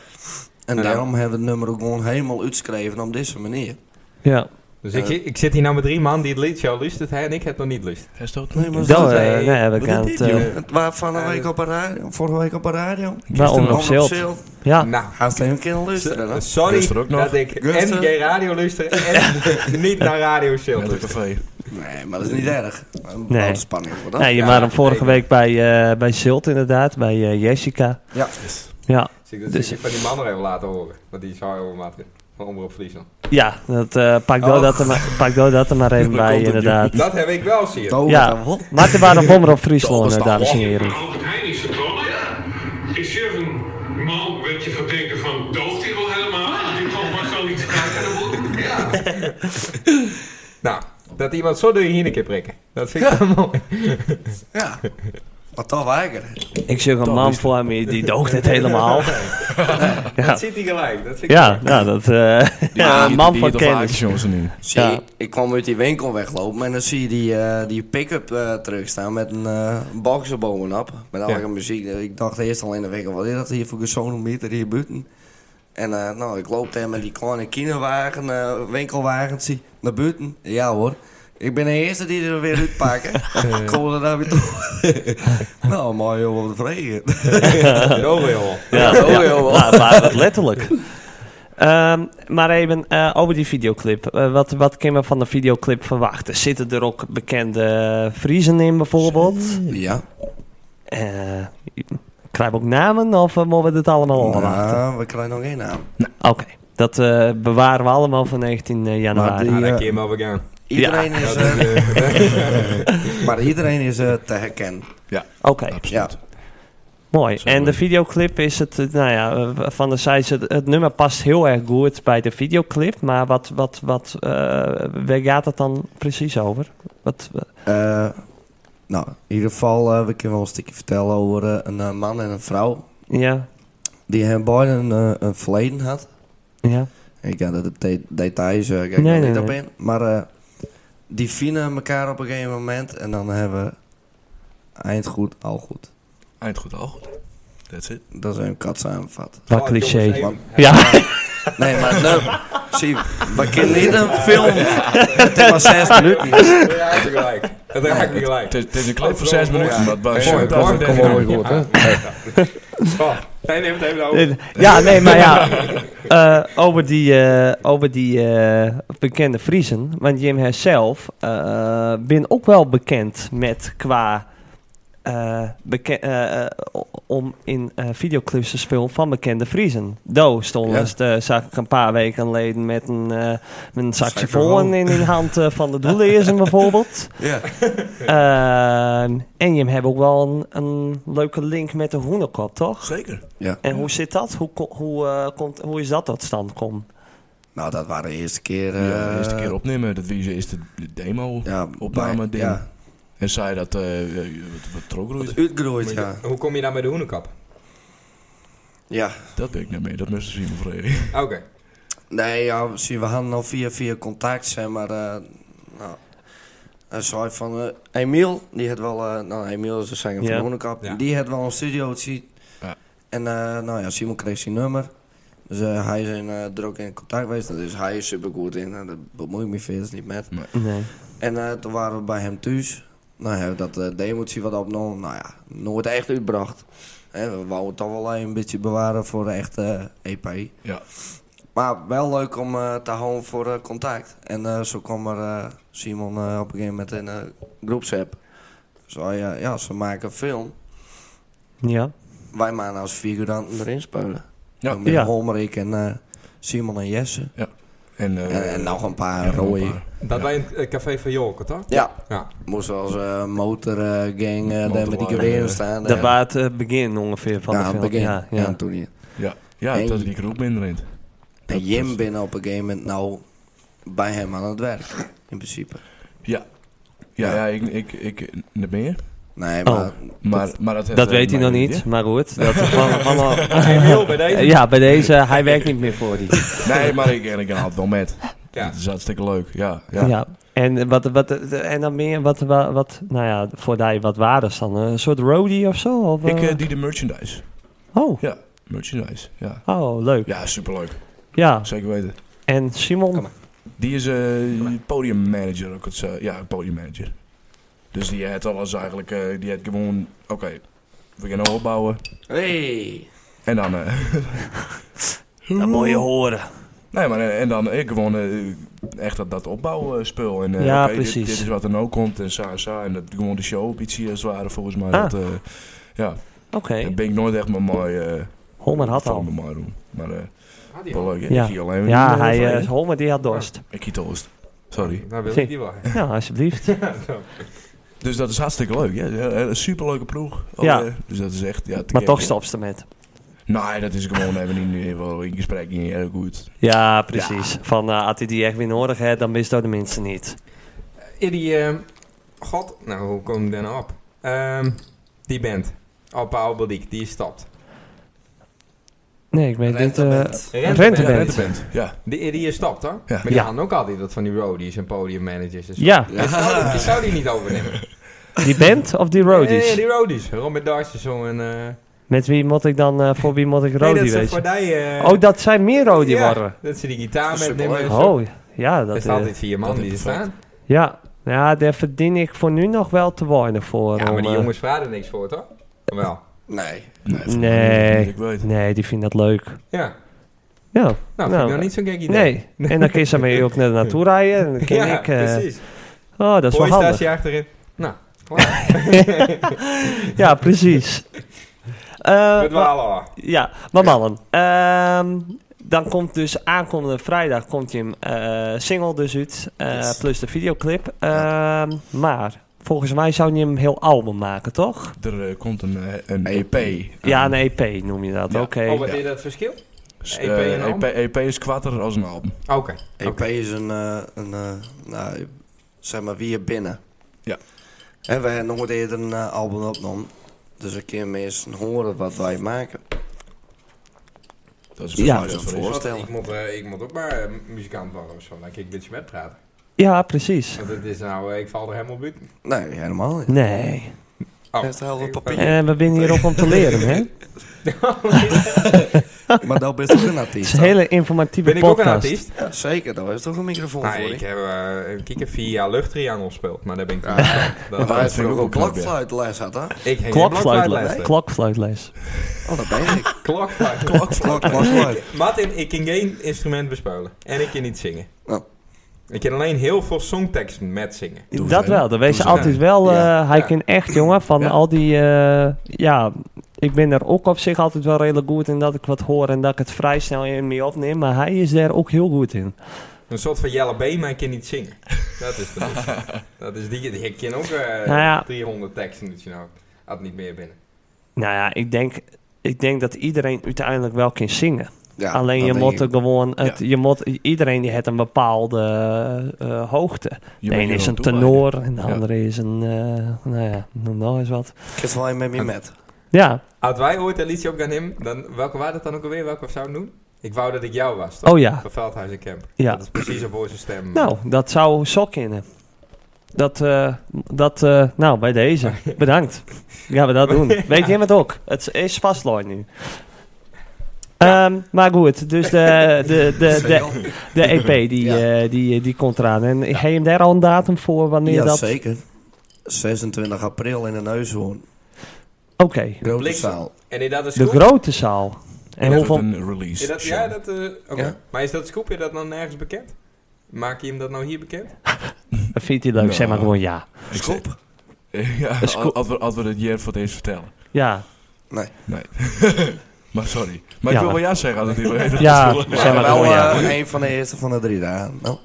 S3: En
S1: Ja.
S3: daarom hebben we het nummer ook gewoon helemaal uitgeschreven op deze manier.
S2: ja.
S1: Dus
S3: Eh,
S1: ik, ik zit hier nou met drie man die het liedje al luistert. Hij en ik heb het nog niet lust.
S5: Hij stoot
S3: Nee, maar
S2: Dat,
S1: dat
S2: eh,
S1: zei-
S2: nee, heb ik
S5: wat is
S2: aan
S5: dit,
S2: het... eh,
S5: joh?
S3: Het was van een week op een radio, vorige week op een radio.
S2: wel
S5: Gisteren
S2: onder op
S3: Allemaal
S2: zilt. Ja,
S1: Nou,
S3: Haast even kunnen luisteren. hè?
S1: s- sorry
S5: Luister ook nog.
S1: dat ik en
S3: Luister.
S1: geen radio luister en niet naar Radio Shield
S5: Met een
S1: luister.
S5: café.
S3: Nee, maar dat is niet erg. Een
S2: Nee.
S3: bepaalde spanning wordt dat.
S2: nee, je
S1: Ja,
S2: waren hem
S1: dat
S2: vorige
S1: weet
S2: week bij, eh, bij Zilt inderdaad, bij eh, Jessica.
S3: Ja.
S2: Ja,
S1: Dus ik dat
S2: Dus-
S1: dus van die man nog even laten horen. Want die is hard over maat van Omroep Friesland.
S2: Ja, dat, eh, pak, door
S3: Oh.
S2: dat er maar, pak door dat er maar even
S5: Dat
S2: bij,
S5: komt het,
S2: inderdaad.
S1: Dat heb ik wel zien.
S3: Zo
S2: Ja.
S3: dan wel.
S2: Maarten Warenbommer op Friesland, eh,
S3: Dat
S2: dames en heren.
S6: Albert Heijn is vertrokken. Is hier een man wat je gaat denken van dooft hij wel helemaal? Die kwam maar zo niet te kijken. Ja.
S1: Nou, dat iemand zo door je hier een keer prikken. Dat vind ik wel mooi.
S3: Ja. Wat toch lekker.
S2: Ik zie ook een man voor me, die doogt het helemaal.
S1: Dat ziet hij gelijk. Dat vind ik
S2: Ja, nou, dat... eh ja, een man
S5: Die
S2: van
S5: het al vaker,
S2: kennis.
S5: jongens, nu.
S3: Zie,
S2: Ja.
S3: ik kwam uit die winkel weglopen en dan zie je die, eh, die pick-up eh, truck staan met een eh boxerbomen op. Met alle
S1: Ja.
S3: muziek. Ik dacht eerst al in de winkel, wat is dat hier voor gesonometer hier buiten? En eh, nou, ik loop daar met die kleine kinderwagen, eh, winkelwagentje naar buiten. Ja hoor. Ik ben de eerste die er weer uitpakken. Ik kom er daar weer toe. nou, mooi joh, wat vregen.
S1: het over, joh.
S2: Ja,
S3: Oh,
S2: ja,
S3: joh.
S2: nou, maar letterlijk. Ehm, maar even eh, over die videoclip. Eh, wat, wat kunnen we van de videoclip verwachten? Zitten er ook bekende Friesen in bijvoorbeeld?
S3: Ja.
S2: Eh krijgen we ook namen of eh, moeten we dit allemaal onderwachten?
S3: Nou, we krijgen nog één naam.
S2: Oké, dat eh, bewaren we allemaal voor 19
S3: Maar
S2: januari.
S3: die-
S1: Nou,
S3: Ja.
S1: daar keer maar weer gaan.
S3: Iedereen is,
S1: Dat
S3: eh,
S1: is, eh,
S3: maar iedereen is eh, te herkennen.
S2: Oké,
S3: Ja.
S5: Absoluut.
S2: mooi.
S5: Zo
S2: En de
S5: mooi.
S2: videoclip is het, eh, nou ja, eh, van de size, het, het nummer past heel erg goed bij de videoclip. Maar wat, wat, wat, eh, waar gaat het dan precies over? Wat, eh,
S3: Eh, Nou, in ieder geval, eh, we kunnen wel een stukje vertellen over eh, een eh, man en een vrouw.
S2: Ja,
S3: Die hebben beiden een, eh, een verleden had.
S2: ja.
S3: Ik ga de de- details eh, ga ik
S2: Nee,
S3: nog
S2: nee,
S3: niet op
S2: nee.
S3: in. Maar eh, die vinden elkaar op een gegeven moment. En dan hebben we eind goed, al goed.
S5: Eind goed, al goed. That's it.
S3: Dat is een kat samenvat.
S2: Wat
S1: Oh,
S2: cliché.
S1: jongens, even.
S2: Ja,
S3: Nee, maar nou, zie, we kunnen niet een film. Het is maar zes minuten.
S1: Dat raakt me gelijk. Dat raakt me gelijk.
S5: Het is- Het is een clip van zes minuten, maar het was...
S1: Mooi,
S5: eh, dat
S1: mooi,
S5: was-
S1: kom mooi.
S7: goed, hè?
S1: Oh, nee, neem het even over.
S2: Nee, ja, nee, maar ja. Eh, over die, eh, over die eh, bekende Friesen. Want Jim herself eh ben ook wel bekend met qua... eh, beke- eh, eh, om in eh, videoclips te spelen van bekende Friesen. Do stond
S3: Ja.
S2: eens, eh, zag ik een paar weken geleden met een, eh met een saxofoon
S3: Saxofoon.
S2: in de hand eh, van de doeleersen bijvoorbeeld.
S3: Ja.
S2: Ehm, en je hebt ook wel een, een leuke link met de hoenekop, toch?
S5: Zeker.
S3: ja.
S2: En hoe zit dat? Hoe, ko- hoe, eh, komt, hoe is dat tot stand gekomen?
S3: Nou, dat waren de eerste keer. eh,
S5: Ja, de eerste keer opnemen, dat was de eerste demo.
S3: Ja,
S5: opname
S3: bij-
S5: ding.
S3: Ja,
S5: En zei dat, eh, eh, wat, wat Trokroeit,
S3: uitgeroeid, ja.
S1: Hoe kom je nou bij de hoenekap?
S3: Ja.
S5: dat weet ik niet meer, dat moest zien van Freddy.
S1: Ah, Oké.
S3: Nee, ja, zie, we hadden al via via contact, zeg maar. eh nou, hij zei van eh, Emiel, die had wel, eh, nou Emiel is de zanger
S2: Ja.
S3: van Hoenekap,
S1: Ja.
S3: die had wel een studio gezien.
S5: Ja.
S3: En eh, nou ja, Simon kreeg zijn nummer. Dus eh, hij is in, eh, er ook in contact geweest, dus hij is super goed in. En daar bemoei ik me verder niet met.
S2: Nee.
S3: En eh, toen waren we bij hem thuis. Nou, hebben we dat eh, demotie wat opgenomen. Nou ja, nooit echt uitbracht. Hè, we wouden het toch wel een beetje bewaren voor de echte eh, E EP.
S5: Ja.
S3: Maar wel leuk om eh, te houden voor eh, contact. En eh, zo kwam er eh, Simon eh, op een gegeven moment in een groepsapp. Zo, ja, ja, ze maken een film.
S2: Ja.
S3: Wij maken als figuranten erin spelen.
S5: Ja.
S3: Met
S2: Ja.
S3: Holmerik en eh, Simon en Jesse.
S5: En, eh,
S3: en, en nog een
S5: ja,
S3: paar
S5: nog een
S3: rode.
S5: paar.
S1: Dat wij een eh, café van Jolken, toch?
S3: Ja,
S1: Ja.
S3: moest wel eens eh, motorgang eh, daar met die
S5: Motorwagen,
S3: geweren
S5: eh,
S3: staan.
S2: Dat
S3: Ja.
S2: was het eh, begin ongeveer van
S3: ja,
S2: de
S3: aan
S2: film.
S3: het begin.
S2: Ja,
S3: Ja,
S2: ja.
S3: toen niet.
S5: Ja, ja
S3: En-
S5: dat is die groep minder in.
S3: En
S5: Dat
S3: Jim
S5: was-
S3: binnen op een gegeven moment nou bij hem aan het werk, in principe.
S5: Ja. Ja, ja, ik, ik, ik, niet meer.
S3: Nee,
S2: Oh.
S3: maar
S5: Maar dat, maar dat, heeft,
S2: Dat
S5: eh,
S2: weet hij
S5: mij
S2: nog niet, maar goed. Dat van, van,
S1: Emiel, bij deze.
S2: ja, bij deze, hij werkt niet meer voor die.
S5: hè? Nee, maar ik, en ik haal het wel met.
S1: Ja.
S5: Dat is hartstikke leuk, ja.
S2: Ja.
S5: ja.
S2: En, wat, wat, en dan meer, wat, wat, wat nou ja, voor die wat waardes dan? eh, Een soort roadie of zo? Of,
S5: Ik
S2: eh,
S5: eh die de merchandise.
S2: oh.
S5: Ja, merchandise, ja.
S2: oh, leuk.
S5: Ja, superleuk.
S2: Ja.
S5: Zeker weten.
S2: En
S1: Kom
S2: Simon?
S1: maar.
S5: Die is eh podiummanager ook. Het, is, eh, ja, podiummanager. Dus die had alles eigenlijk, eh, die had gewoon, oké, we gaan opbouwen.
S3: hey,
S5: En dan, eh,
S2: Dat moet je horen.
S5: nee maar, eh, en dan ik gewoon eh, echt dat, dat opbouwspul. En, eh,
S2: Ja,
S5: oké, dit-
S2: precies.
S5: Dit, is wat er nou komt en sa, sa. En dat gewoon de show op iets hier als het ware volgens mij.
S2: Ah.
S5: Dat, eh, ja,
S2: Oké.
S5: dat ben ik nooit echt mijn mooi, eh
S2: Holman had
S5: van
S2: al.
S5: mijn mooi doen. Maar eh,
S1: Ah, die
S5: wel leuk. hè.
S2: Ja.
S5: Ik zie alleen
S2: Ja,
S5: eh, van-
S2: hij, eh Holman die had dorst.
S5: Ik kiet oost. Sorry.
S1: Daar wil ik die wel.
S2: Ja, alsjeblieft.
S5: Dus dat is hartstikke leuk. Ja, Eh, een superleuke ploeg.
S2: Ja.
S5: Eh, Dus dat is echt... Ja, te
S2: Maar
S5: gek,
S2: toch
S5: hè.
S2: stopt ze met.
S5: Nee, dat is gewoon even in, in, in gesprek niet heel goed.
S2: Ja, precies. Van eh had hij die echt weer nodig hebt, dan wist dat de mensen niet.
S1: In die, ehm, god, nou, hoe kom ik daar nou op? Ehm, die band, Alpa Albalik, die is stopt.
S2: Nee, ik weet niet. eh
S3: Rentabend.
S2: Rente
S5: Ja,
S2: bent.
S5: Renteband. Ja,
S1: Die, die is stopt, hoor.
S5: Ja.
S1: Maar die
S2: Ja.
S1: hadden ook altijd dat van die roadies en podiummanagers en zo.
S2: Ja,
S1: Die zou, die zou die niet overnemen.
S2: die band of die roadies?
S1: Nee, die roadies. Robert Darcy zo en... eh,
S2: Met wie moet ik dan, eh, voor wie moet ik
S1: nee,
S2: roadie
S1: dat ze
S2: wezen?
S1: voor die... eh,
S2: Oh, dat zijn meer roadie
S1: ja,
S2: worden.
S1: dat ze die gitaar
S3: Dat is
S1: met nemen. en
S3: superleuk.
S1: zo.
S2: Oh, ja.
S1: Er
S2: Dat,
S1: staan
S2: eh,
S1: altijd vier man
S5: dat
S1: die er
S5: is
S1: staan.
S2: ja. ja, daar verdien ik voor nu nog wel te weinig voor.
S1: Ja,
S2: om,
S1: maar die
S2: eh,
S1: jongens vragen er niks voor, toch? Wel,
S3: nee.
S5: nee. volgens
S2: Nee.
S5: mij niet, Ik weet.
S2: Nee, die vinden dat leuk.
S1: ja.
S2: Ja,
S1: Nou, vind
S2: Nou,
S1: ik nou niet zo'n gek idee.
S2: nee. En dan kun je ze mee ook naar naartoe rijden. En dan ken
S1: ja,
S2: ik... eh,
S1: precies.
S2: oh, dat is wel handig. Eh,
S1: Hooistasje achterin. Nou, klaar.
S2: Ja, precies. Eh,
S1: we dwalen al.
S2: Ja, maar mannen. ehm, dan komt dus aankomende vrijdag komt je eh single dus uit. eh,
S3: Yes.
S2: Plus de videoclip. Ehm, Maar volgens mij zou je hem heel album maken, toch?
S5: Er eh, komt een, eh, een EP.
S2: Ja, een EP noem je dat.
S5: Ja.
S2: Oké.
S1: Oh, wat
S5: ja.
S1: is dat verschil?
S5: S-
S1: EP
S5: eh,
S1: en album?
S5: EP, EP is kwatter als een album.
S1: Oké.
S3: E EP is een, eh, een eh, nou, zeg maar, wie je binnen.
S5: Ja.
S3: En wij hebben nooit eerder een eh, album opgenomen. Dus een keer mensen horen wat wij maken.
S5: Dat is
S2: Ja.
S5: precies wat er is.
S3: Voorstellen.
S1: Ik moet, eh, ik moet ook maar eh, muzikant worden of zo. Dan kan ik een beetje met praten.
S2: Ja, precies.
S1: Want het is nou, eh, ik val er helemaal buiten.
S3: Nee, helemaal niet.
S2: Nee.
S1: Oh.
S3: Best wel wat
S1: Ik-
S3: papier.
S2: Eh, we zijn hier ook om te leren, hè? Het
S3: Maar dat bent toch een
S2: is
S3: artiest?
S2: een
S3: dan?
S2: hele informatieve
S1: Ben ik ook
S2: podcast.
S1: een artiest?
S3: Ja, zeker, daar is toch een microfoon
S1: Nou,
S3: voor.
S1: ik
S3: hè?
S1: heb eh kieken vier jaar luchttriangel gespeeld, maar daar ben ik niet
S3: Ah.
S1: van.
S3: Maar wij
S1: Dat-
S5: dat
S3: hebben
S5: vind ik
S3: ook
S5: ook
S3: een
S5: knap, ja.
S3: klokfluitles had, hè?
S1: Ik hing in
S2: Klokfluitles.
S1: blokfluitlijsten.
S2: Klokfluitles.
S3: Oh, dat ben ik.
S1: Klokfluit.
S3: Klok, klokfluit.
S1: Martin, ik kan geen instrument bespelen. En ik kan niet zingen.
S3: Oh.
S1: Ik kan alleen heel veel songteksten met zingen.
S5: Doe
S2: dat
S5: ze,
S2: wel, dat weet je
S5: Doe ze.
S2: altijd wel. eh,
S1: Ja.
S2: Hij
S1: Ja.
S2: kan echt, jongen, van
S5: Ja.
S2: al die... eh, ja, ik ben er ook op zich altijd wel redelijk goed in dat ik wat hoor en dat ik het vrij snel in me opneem. Maar hij is daar ook heel goed in.
S1: Een soort van Jelle B, maar ik kan niet zingen. Dat is de Dat is die. Ik ken ook eh,
S2: Nou ja.
S1: 300 teksten, dat je nou had niet meer binnen.
S2: Nou ja, ik denk, ik denk dat iedereen uiteindelijk wel kan zingen.
S3: Ja,
S2: Alleen
S3: dat
S2: je
S3: denk
S2: moet
S3: ik.
S2: er gewoon... Het, je moet, iedereen die heeft een bepaalde eh, hoogte.
S5: Je
S2: de
S5: bent
S2: een
S5: hier
S2: is
S5: aan
S2: een
S5: toe,
S2: tenor en de
S5: Ja.
S2: andere is een... eh, nou ja, noem nou eens wat.
S3: Ik heb wel een met me met.
S2: Ja,
S1: Had wij ooit een liedje op gaan nemen, dan, welke waren dat dan ook alweer? Welke we zouden doen? Ik wou dat ik jou was, toch?
S2: oh ja.
S1: Van Veldhuis en Kemp.
S2: Ja.
S1: Dat is precies op onze stem.
S2: Nou, dat zou zo kunnen. Dat, eh, dat eh, nou, bij deze. Bedankt. Ja, we dat doen. Weet jij het ook? Het is vastlooi nu. Ehm, maar goed, dus de, de, Eh, de, de, de EP die,
S3: Ja.
S2: eh, die, die komt eraan. En heb je hem daar al een datum voor wanneer
S3: Ja,
S2: dat...
S3: zeker. 26 april in de Neushoorn.
S2: Oké,
S3: Grote
S1: Bliksem.
S3: zaal.
S1: En is dat een
S2: de
S1: scoop?
S2: grote zaal. En
S5: Is
S2: hoeveel...
S5: dat een release.
S1: Is dat,
S5: show?
S1: ja, dat, eh, oké.
S3: Ja.
S1: Maar is dat scoop, is dat dan nergens bekend? Maak je hem dat nou hier bekend?
S2: Vindt hij leuk?
S5: Nou.
S2: Zeg maar gewoon ja.
S5: Ik
S3: Schop?
S5: zeg- Ja,
S2: Is cool.
S5: als we, als we het hier voor het eerst vertellen.
S2: Ja,
S5: Maar sorry. Maar
S2: Ja,
S5: ik wil
S2: maar-
S5: wel ja zeggen als het hier weer
S2: Ja,
S5: Ja.
S2: zeg maar
S3: wel
S2: gewoon ja.
S3: eh, een van de eerste van de drie dagen. Nou,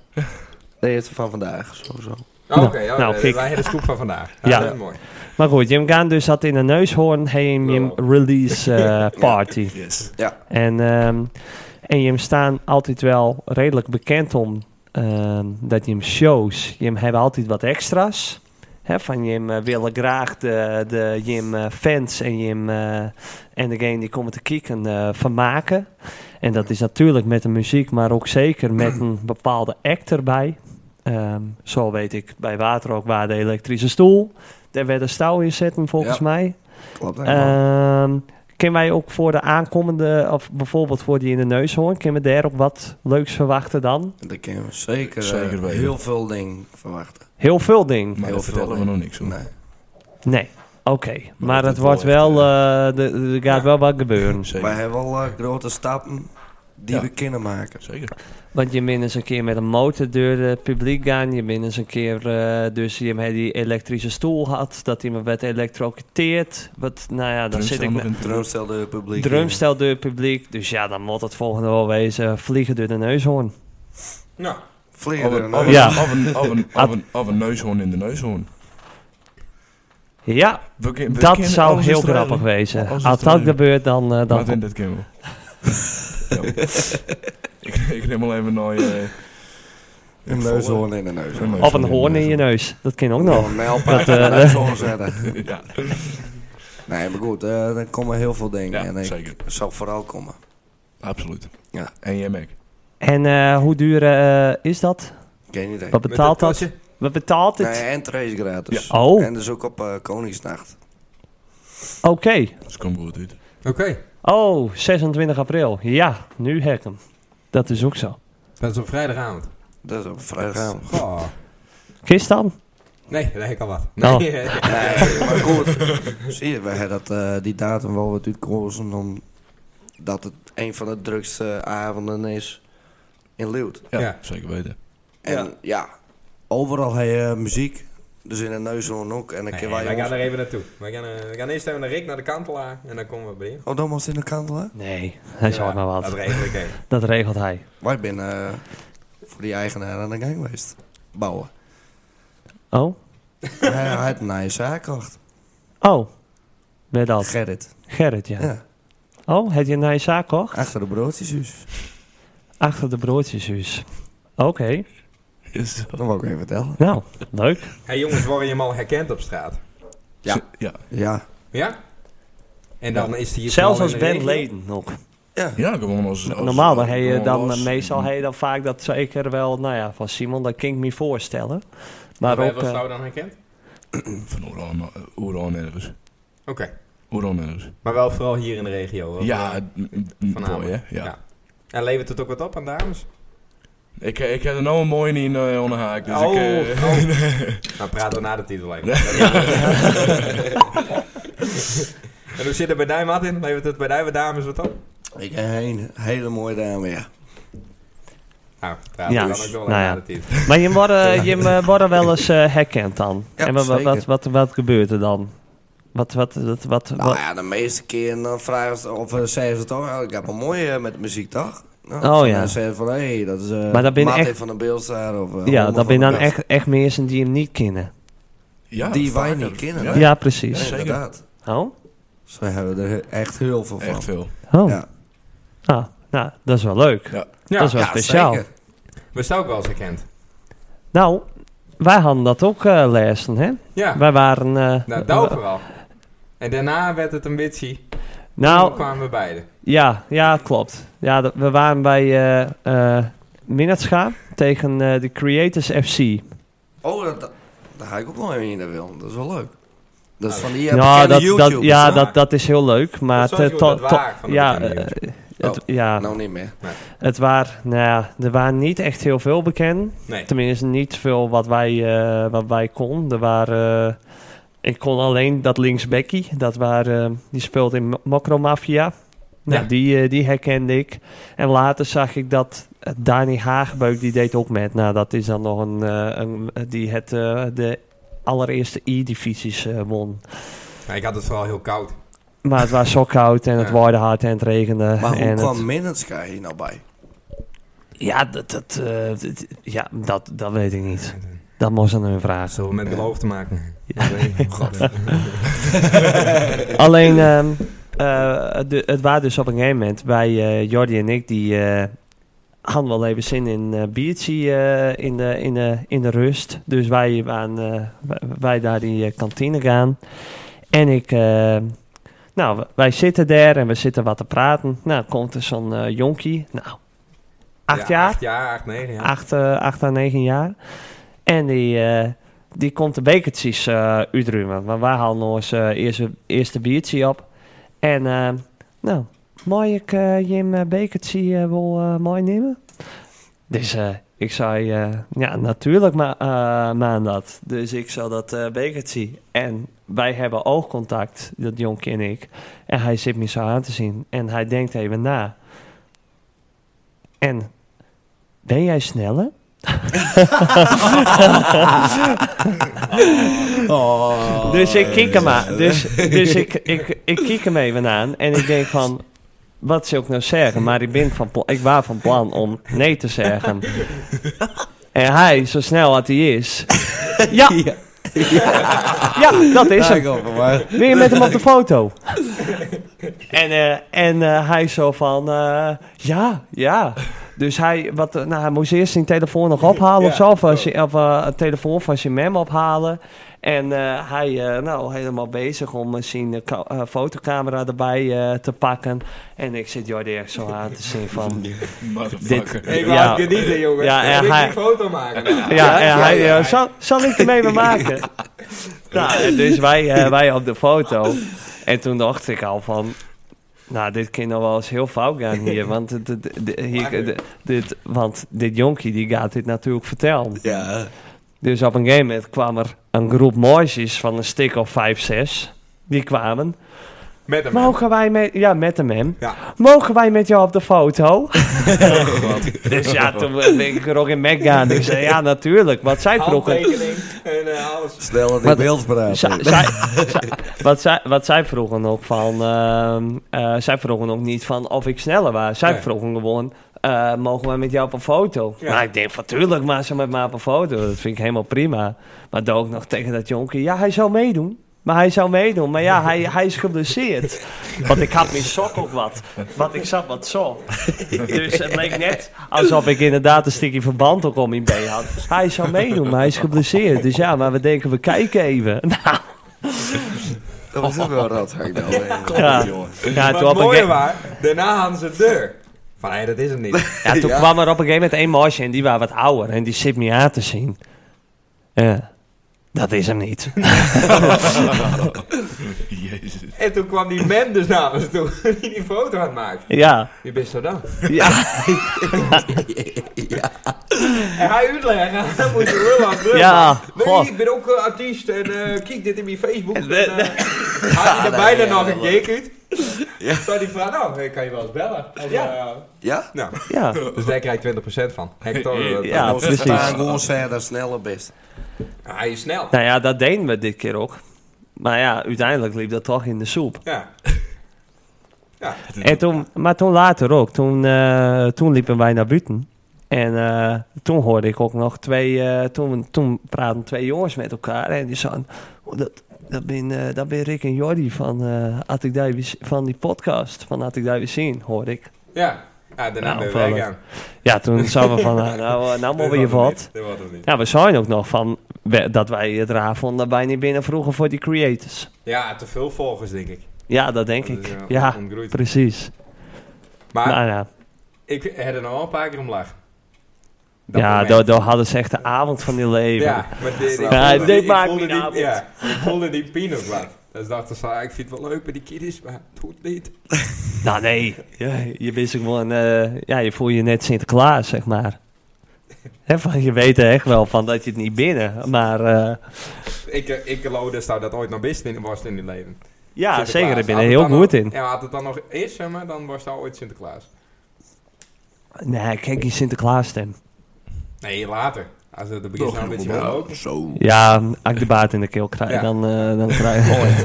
S3: de eerste van vandaag, sowieso.
S1: Oh,
S2: Nou,
S1: Oké, oh,
S2: nou,
S1: eh,
S2: kijk.
S1: wij hebben de scoop van vandaag.
S2: Ja.
S1: dat is mooi.
S2: maar goed. Jim Gaan dus zat in de neushoorn. Heen Jim
S1: Wel.
S2: release eh, party.
S5: Yes.
S2: En, ehm, en je hem staan altijd wel redelijk bekend om ehm, dat je hem shows, je hem hebben altijd wat extra's. Hè, van je hem, eh, willen graag de, de je hem, eh, fans en je hem, eh, en degene die komen te kijken eh, vermaken. En dat is natuurlijk met de muziek, maar ook zeker met een bepaalde act erbij. Ehm, zo weet ik bij Water ook waar de elektrische stoel. Daar werd een stouw in zetten volgens
S3: Ja.
S2: mij.
S3: Klopt helemaal.
S2: Ehm kunnen wij ook voor de aankomende, of bijvoorbeeld voor die in de neushoorn, kunnen we daar ook wat leuks verwachten dan?
S3: Daar kunnen we zeker, eh,
S5: Zeker weten.
S3: heel veel dingen verwachten.
S2: Heel veel ding.
S5: Maar
S3: Heel
S5: daar vertellen we
S3: veel,
S5: nog niks over.
S3: Nee.
S2: Nee, oké. Maar
S5: dat
S2: het
S5: moet
S2: wordt
S5: wel
S2: wel, eh, de- de- er gaat wel wat gebeuren.
S5: Zeker.
S3: Wij hebben wel eh, grote stappen die
S5: Ja.
S3: we kunnen maken.
S5: Zeker.
S2: Want je bent eens een keer met een motor door het publiek gaan. Je bent eens een keer, eh, dus je hebt die elektrische stoel had, dat iemand werd elektrocuteerd. Wat, nou ja, dan zit ik met...
S3: Drumstel de publiek.
S2: Drumstel door het publiek. Dus ja, dan moet het volgende wel wezen. Vliegen door de neushoorn.
S1: Nou,
S5: Of
S3: Vliegen
S5: een,
S3: er
S5: of
S3: een
S5: een,
S2: Oh, Ja.
S5: of een, of een, of een, of een neushoorn in de neushoorn.
S2: Ja,
S5: We ken- we
S2: Dat
S5: kennen
S2: zou
S5: alles
S2: heel
S5: is te
S2: grappig
S5: regelen.
S2: wezen.
S5: Alles
S2: Als,
S5: is te
S2: dat
S5: regelen.
S2: gebeurt, dan... eh, dan
S5: Wat in dit keer wel. Ja. ik, ik neem alleen maar nooit. eh,
S3: een neushoorn in de neus.
S5: Een neushoorn
S2: of een hoorn in je neus. Dat kan ook Oh, nog.
S3: Een mijlpaal
S2: Dat, eh,
S3: in de neushoorn zetten.
S5: Ja,
S3: Nee, maar goed, eh er komen heel veel dingen. en
S5: ja
S3: ik
S5: zeker.
S3: zal vooral komen.
S5: Absoluut.
S3: Ja.
S5: En jij, Mac?
S2: En eh, hoe duur eh, is dat?
S3: Geen idee.
S2: Wat
S1: met
S2: betaalt
S1: dat
S2: dat?
S1: potje.
S2: Wat betaalt
S3: Nee,
S2: het?
S3: en trace gratis.
S2: Ja. Oh.
S3: En dus ook op eh, Koningsnacht.
S2: Oké.
S5: Dat komt Dus goed uit.
S1: Oké,
S2: Oh, 26 april. Ja, nu hek hem. Dat is ook zo.
S1: dat is op vrijdagavond.
S3: Dat is op vrijdagavond.
S1: Goh.
S2: Kist dan?
S1: Nee, daar heb ik al wat.
S2: Oh.
S1: Nee,
S3: Nee, Eh, maar goed. Zie je, wij hebben dat, eh, die datum wel wat uitkozen omdat het een van de drukste avonden is in Leeuwarden.
S5: Ja,
S1: Ja.
S5: zeker weten.
S3: En ja, overal heb je muziek. Dus in de neushoorn ook. En dan
S1: Nee,
S3: kunnen
S1: wij
S3: wij
S1: gaan
S3: ons...
S1: er even naartoe. We gaan, eh, we gaan eerst even naar Rick, naar de kantelaar. En dan komen we bij je.
S3: Oh, dan was het in de kantelen.
S2: Nee, hij
S1: Ja,
S2: zal maar
S1: Dat
S2: wat.
S1: regel ik even.
S2: Dat regelt hij.
S3: Wij zijn eh, voor die eigenaar aan de gang geweest. Bouwen.
S2: Oh?
S3: hij hij had een nieuwe zaak gekocht.
S2: Oh. Met dat.
S3: Gerrit.
S2: Gerrit, ja.
S3: Ja.
S2: Oh, had je een nieuwe zaak gekocht?
S3: dus. Achter de broodjeshuis.
S2: Achter de broodjeshuis. Oké.
S5: Is dat-
S3: Dat wil ik even vertellen.
S2: Nou, leuk.
S1: Hey jongens, worden je hem al herkend op straat?
S3: Ja.
S5: Ja.
S3: Ja.
S1: Ja? En dan is hij hier
S2: Zelfs
S1: vooral
S2: als
S1: in de regio?
S2: bandleden nog.
S5: Ja, gewoon als... als-
S2: Normaal dan, heb je
S5: gewoon
S2: dan,
S5: als- Mm,
S2: meestal heb je dan vaak dat zeker wel, nou ja, van Simon, dat kan ik me voorstellen.
S1: Maar
S2: Maar
S1: wij
S2: ook,
S1: was
S2: eh,
S1: jou dan herkend?
S5: Van Oeran, eh, Oeran ergens.
S1: Oké.
S5: Oeran ergens.
S1: Maar wel vooral hier in de regio. hoor.
S5: Ja, eh, mooi hè.
S1: Vanavond.
S5: Ja.
S1: En levert het ook wat op aan dames?
S5: Ik, ik heb er nou een mooie in eh onder haak, dus
S1: oh,
S5: ik... eh,
S1: oh. nou praten we na de titel even. en hoe zit het bij Dij, Martin? Levert het bij Dij wat dames wat op?
S3: Ik heb een hele mooie dame, ja.
S1: Nou, praten
S2: Ja.
S1: we dan ook nog
S2: Nou
S1: na
S2: ja.
S1: de titel.
S2: maar je wordt, eh, je eh, wordt wel eens eh, herkend dan.
S3: Ja,
S2: en wat, wat,
S3: zeker.
S2: wat, wat, wat gebeurt er dan? Wat, wat, wat, wat,
S3: Nou
S2: wat-
S3: ja, de meeste keer dan vragen ze, of eh, zeggen ze toch, "Ah, ik heb een mooie eh, met muziek, toch? Nou,
S2: Oh,
S3: dan
S2: ja.
S3: zeggen ze van, hé, hey, dat is eh
S2: Maar dat ben je
S3: Martin
S2: echt-
S3: van de Beelstaar of... eh,
S2: ja,
S3: Homer
S2: dat zijn
S3: van de
S2: dan
S3: Beelstaar.
S2: echt, echt mensen die hem niet kennen.
S5: ja,
S3: Die wij
S5: vaker.
S3: niet kennen,
S5: Ja,
S3: hè?
S2: Ja,
S3: Ja.
S5: echt-
S2: precies.
S3: Ja, inderdaad.
S2: Oh?
S3: Ze hebben er he- echt heel veel van.
S5: echt veel.
S2: Oh.
S3: Ja.
S2: Ah, nou, dat is wel leuk.
S5: Ja.
S1: Ja,
S2: dat is wel
S3: Ja,
S2: speciaal.
S3: zeker.
S1: we staan ook wel eens herkend.
S2: Nou, wij hadden dat ook eh lezen, hè?
S1: Ja,
S2: Wij waren... eh,
S1: nou, daar
S2: eh,
S1: vooral. En daarna werd het een bitchie. Toen
S2: nou,
S1: kwamen we beiden.
S2: ja, ja, klopt. Ja, dat- we waren bij eh eh Minnatscha tegen eh, de Creators FC.
S3: Oh, dat, dat, daar ga ik ook wel even in de wil. Dat is wel leuk. Dat is van die
S2: Ja,
S3: eh, bekende
S2: Nou, dat,
S3: YouTubers,
S2: dat, ja
S1: hè?
S2: dat, dat is heel leuk, maar...
S1: Dat is
S2: te-
S1: sowieso
S2: to-
S1: het
S2: to-
S1: waar van de
S2: ja,
S1: bekende
S2: eh,
S3: Oh,
S2: het, ja,
S3: Nou, niet meer.
S2: het waren, nou ja, er waren niet echt heel veel bekend.
S1: Nee.
S2: Tenminste, niet veel wat wij, eh, wat wij kon. Er waren, eh, ik kon alleen dat linksbekkie. Dat waren, eh, die speelt in Mo- Mokromafia. Nou,
S1: Ja.
S2: die, eh, die herkende ik. En later zag ik dat eh, Dani Haagbeuk, die deed ook met. Nou, dat is dan nog een... eh, een die het, eh, de allereerste E-divisies eh, won.
S1: Maar ik had het vooral heel koud.
S2: Maar het was zo koud en het
S1: Ja.
S2: waaide hard en het regende.
S3: Maar
S2: en
S3: hoe
S2: het-
S3: kwam Minnetsky hier nou bij?
S2: Ja, dat, dat, eh, dat- ja dat, dat weet ik niet. Dat moest aan hun vragen.
S1: Zullen we met geloof te maken?
S2: Ja.
S1: Nee, God.
S2: Alleen, ehm, eh, de, het was dus op een gegeven moment bij eh, Jordi en ik, die eh, hadden wel even zin in eh biertje eh, in, de, in, de, in de rust. Dus wij, waren, eh, wij- wij daar die eh, kantine gaan. En ik, eh, nou, w- wij zitten daar en we zitten wat te praten. Nou, komt er zo'n eh, jonkie, nou, acht
S1: Ja,
S2: jaar,
S1: Acht jaar, acht, negen jaar.
S2: acht, eh, acht à negen jaar. En die, eh, die komt de bekertjes eh uitruimen. Want wij halen ons eh, eerste, eerste biertje op. En eh, nou, mag ik eh, Jim eh, bekertje eh, wel eh, mooi nemen? Dus eh, ik zei, eh, ja natuurlijk ma eh, maan dat. Dus ik zal dat eh bekertje. En wij hebben oogcontact, dat jonkie en ik. En hij zit me zo aan te zien. En hij denkt even na. En ben jij sneller? dus ik kijk hem aan. Dus, dus ik, ik, ik kijk hem even aan. En ik denk van... Wat zou ik nou zeggen? Maar ik, ben van pla- ik was van plan om nee te zeggen. En hij, zo snel als hij is... Ja! Ja, dat is hem. Wil je met hem op de foto? en eh, en eh, hij zo van, eh, ja, ja. Dus hij, wat, eh, nou, hij moest eerst zijn telefoon nog ophalen of zo. Of, eh, zijn- of eh, het telefoon van zijn mem ophalen. En eh, hij, eh, nou, helemaal bezig om eh, zijn eh, ka- eh, fotocamera erbij eh, te pakken. En ik zit Jordi echt zo aan te zien van...
S5: Motherfucker.
S1: Ik
S2: Ah, Ja.
S1: wou het genieten, jongens.
S2: Ja, en
S1: en ik
S2: hij-
S1: een foto maken.
S2: Ja, en hij,
S1: ja,
S2: eh,
S1: ja.
S2: Zal, zal ik ermee mee maken? nou, en dus wij, eh, wij op de foto. En toen dacht ik al van... Nou, dit kan nog wel eens heel fout gaan hier. Want, het- het- het- hier, het- dit, want dit jonkie die gaat dit natuurlijk vertellen.
S3: Ja.
S2: Dus op een gegeven moment kwam er een groep mooisjes van een stuk of vijf, zes. Die kwamen.
S1: Met hem.
S2: Mogen wij met... Ja, met hem hem.
S1: Ja. Oh,
S2: Mogen wij met jou op de foto? dus ja, toen ben ik er ook in Mac gaan. Ik zei, ja, natuurlijk. Want zij vroegen...
S1: Handtekening en eh, alles.
S3: Snel dat
S2: Wat-
S3: ik beeld
S2: Zij-
S3: praten.
S2: zij- zij- wat, zij, wat zij vroegen ook van... ehm, eh, zij vroegen ook niet van of ik sneller was. Zij
S1: Nee.
S2: vroegen gewoon... eh, mogen wij met jou op een foto?
S1: Ja.
S2: Nou, ik denk van tuurlijk, maar ze met mij op een foto. Dat vind ik helemaal prima. Maar dan ook nog tegen dat jonkie. Ja, hij zou meedoen. Maar hij zou meedoen. Maar ja, hij, hij is geblesseerd. Want ik had mijn sok ook wat. Want ik zat wat zo. Dus het leek net alsof ik inderdaad een stukje verband ook om in been had. Hij zou meedoen, maar hij is geblesseerd. Dus ja, maar we denken, we kijken even. Nou,
S3: Dat was ook wel rad, ik nou weer.
S2: ja. Ja,
S1: Maar
S2: toen,
S1: het
S2: op een
S1: mooie
S2: ge-
S1: was, daarna hadden ze de deur. Van, hé, dat is hem niet.
S2: ja, toen kwam er op een gegeven moment één mosje en die was wat ouder. En die zit me aan te zien. Ja, dat is hem niet.
S5: Jezus.
S1: en toen kwam die man dus namens toe, die die foto had gemaakt.
S2: Ja,
S1: Wie bent zo dan?
S2: ja,
S1: En hij uitleggen, dan moet je wel aan
S2: ja.
S1: Nee,
S2: Goh.
S1: ik ben ook eh, artiest en eh, kijk dit in mijn Facebook. En,
S2: Nee,
S1: eh, Had hij er
S3: nee,
S1: bijna
S3: ja,
S1: nog
S3: ja,
S1: een
S3: ja.
S1: keek uit.
S3: Ja.
S1: Zou die vraag, nou, ik kan je wel eens bellen. Als, ja.
S3: Ja?
S1: nou,
S2: Ja,
S1: dus daar krijg je 20% van. Hector, eh,
S2: ja,
S3: Ze staan
S2: precies.
S3: gewoon verder, sneller best.
S1: Hij is snel.
S2: Nou ja, dat deden we dit keer ook. Maar ja, uiteindelijk liep dat toch in de soep.
S1: Ja. Ja.
S2: En toen, maar toen later ook. Toen, eh, toen liepen wij naar buiten. En eh, toen hoorde ik ook nog twee... eh, toen, toen praten twee jongens met elkaar. En die zeiden... "Oh, dat, dat, ben, eh, dat ben Rick en Jordi van, eh had ik daar weer z- van die podcast. Van Had ik daar weer zien, hoorde ik.
S1: Ja. Ja, daarna
S2: Nou,
S1: ben je weg
S2: opvallend.
S1: gaan.
S2: Ja, toen zouden we van... "Nou, Nou, eh, nou
S1: Dat
S2: mogen je
S1: wordt hem
S2: wat.
S1: niet, Dat wordt hem niet.
S2: Ja, we zeiden ook nog van... we- Dat wij het raar vonden dat wij niet binnen vroegen voor die creators.
S1: Ja, te veel volgers, denk ik.
S2: Ja, dat denk
S1: Dat
S2: ik.
S1: is, eh,
S2: ja,
S1: ontgroeid.
S2: precies.
S1: Maar
S2: nou ja,
S1: ik heb er nog wel een paar keer om lachen. Dat
S2: ja
S1: moment.
S2: daar daar hadden ze echt de avond van die leven.
S1: Ja, maar dit, ik
S2: Ja,
S1: voelde
S2: dit
S1: die- ik
S2: maakt
S1: voelde
S2: mijn
S1: die-
S2: avond.
S1: Ja, ik voelde die pijn ook wat. Dus dachten ze, ah, ik vind het wel leuk bij die kiddies, maar het hoeft niet.
S2: Nou nee, je, je wist ook gewoon, eh, ja, je voel je net Sinterklaas, zeg maar. Hè, van, je weet echt wel van dat je het niet binnen, maar eh,
S1: Ik, eh, ik geloof dus dat dat ooit nog best in was in die leven.
S2: ja,
S1: Sinterklaas.
S2: zeker, ik ben er
S1: Had
S2: heel
S1: het dan
S2: goed
S1: nog-
S2: in.
S1: Ja, had het dan nog is, zeg maar, dan was dat ooit Sinterklaas.
S2: Nee, kijk die Sinterklaas stem.
S1: Nee, later. Als het er begint nou een beetje wel ook.
S5: Zo.
S2: Ja, als ik de baat in de keel krijg,
S1: Ja.
S2: dan, eh, dan krijg ik ooit.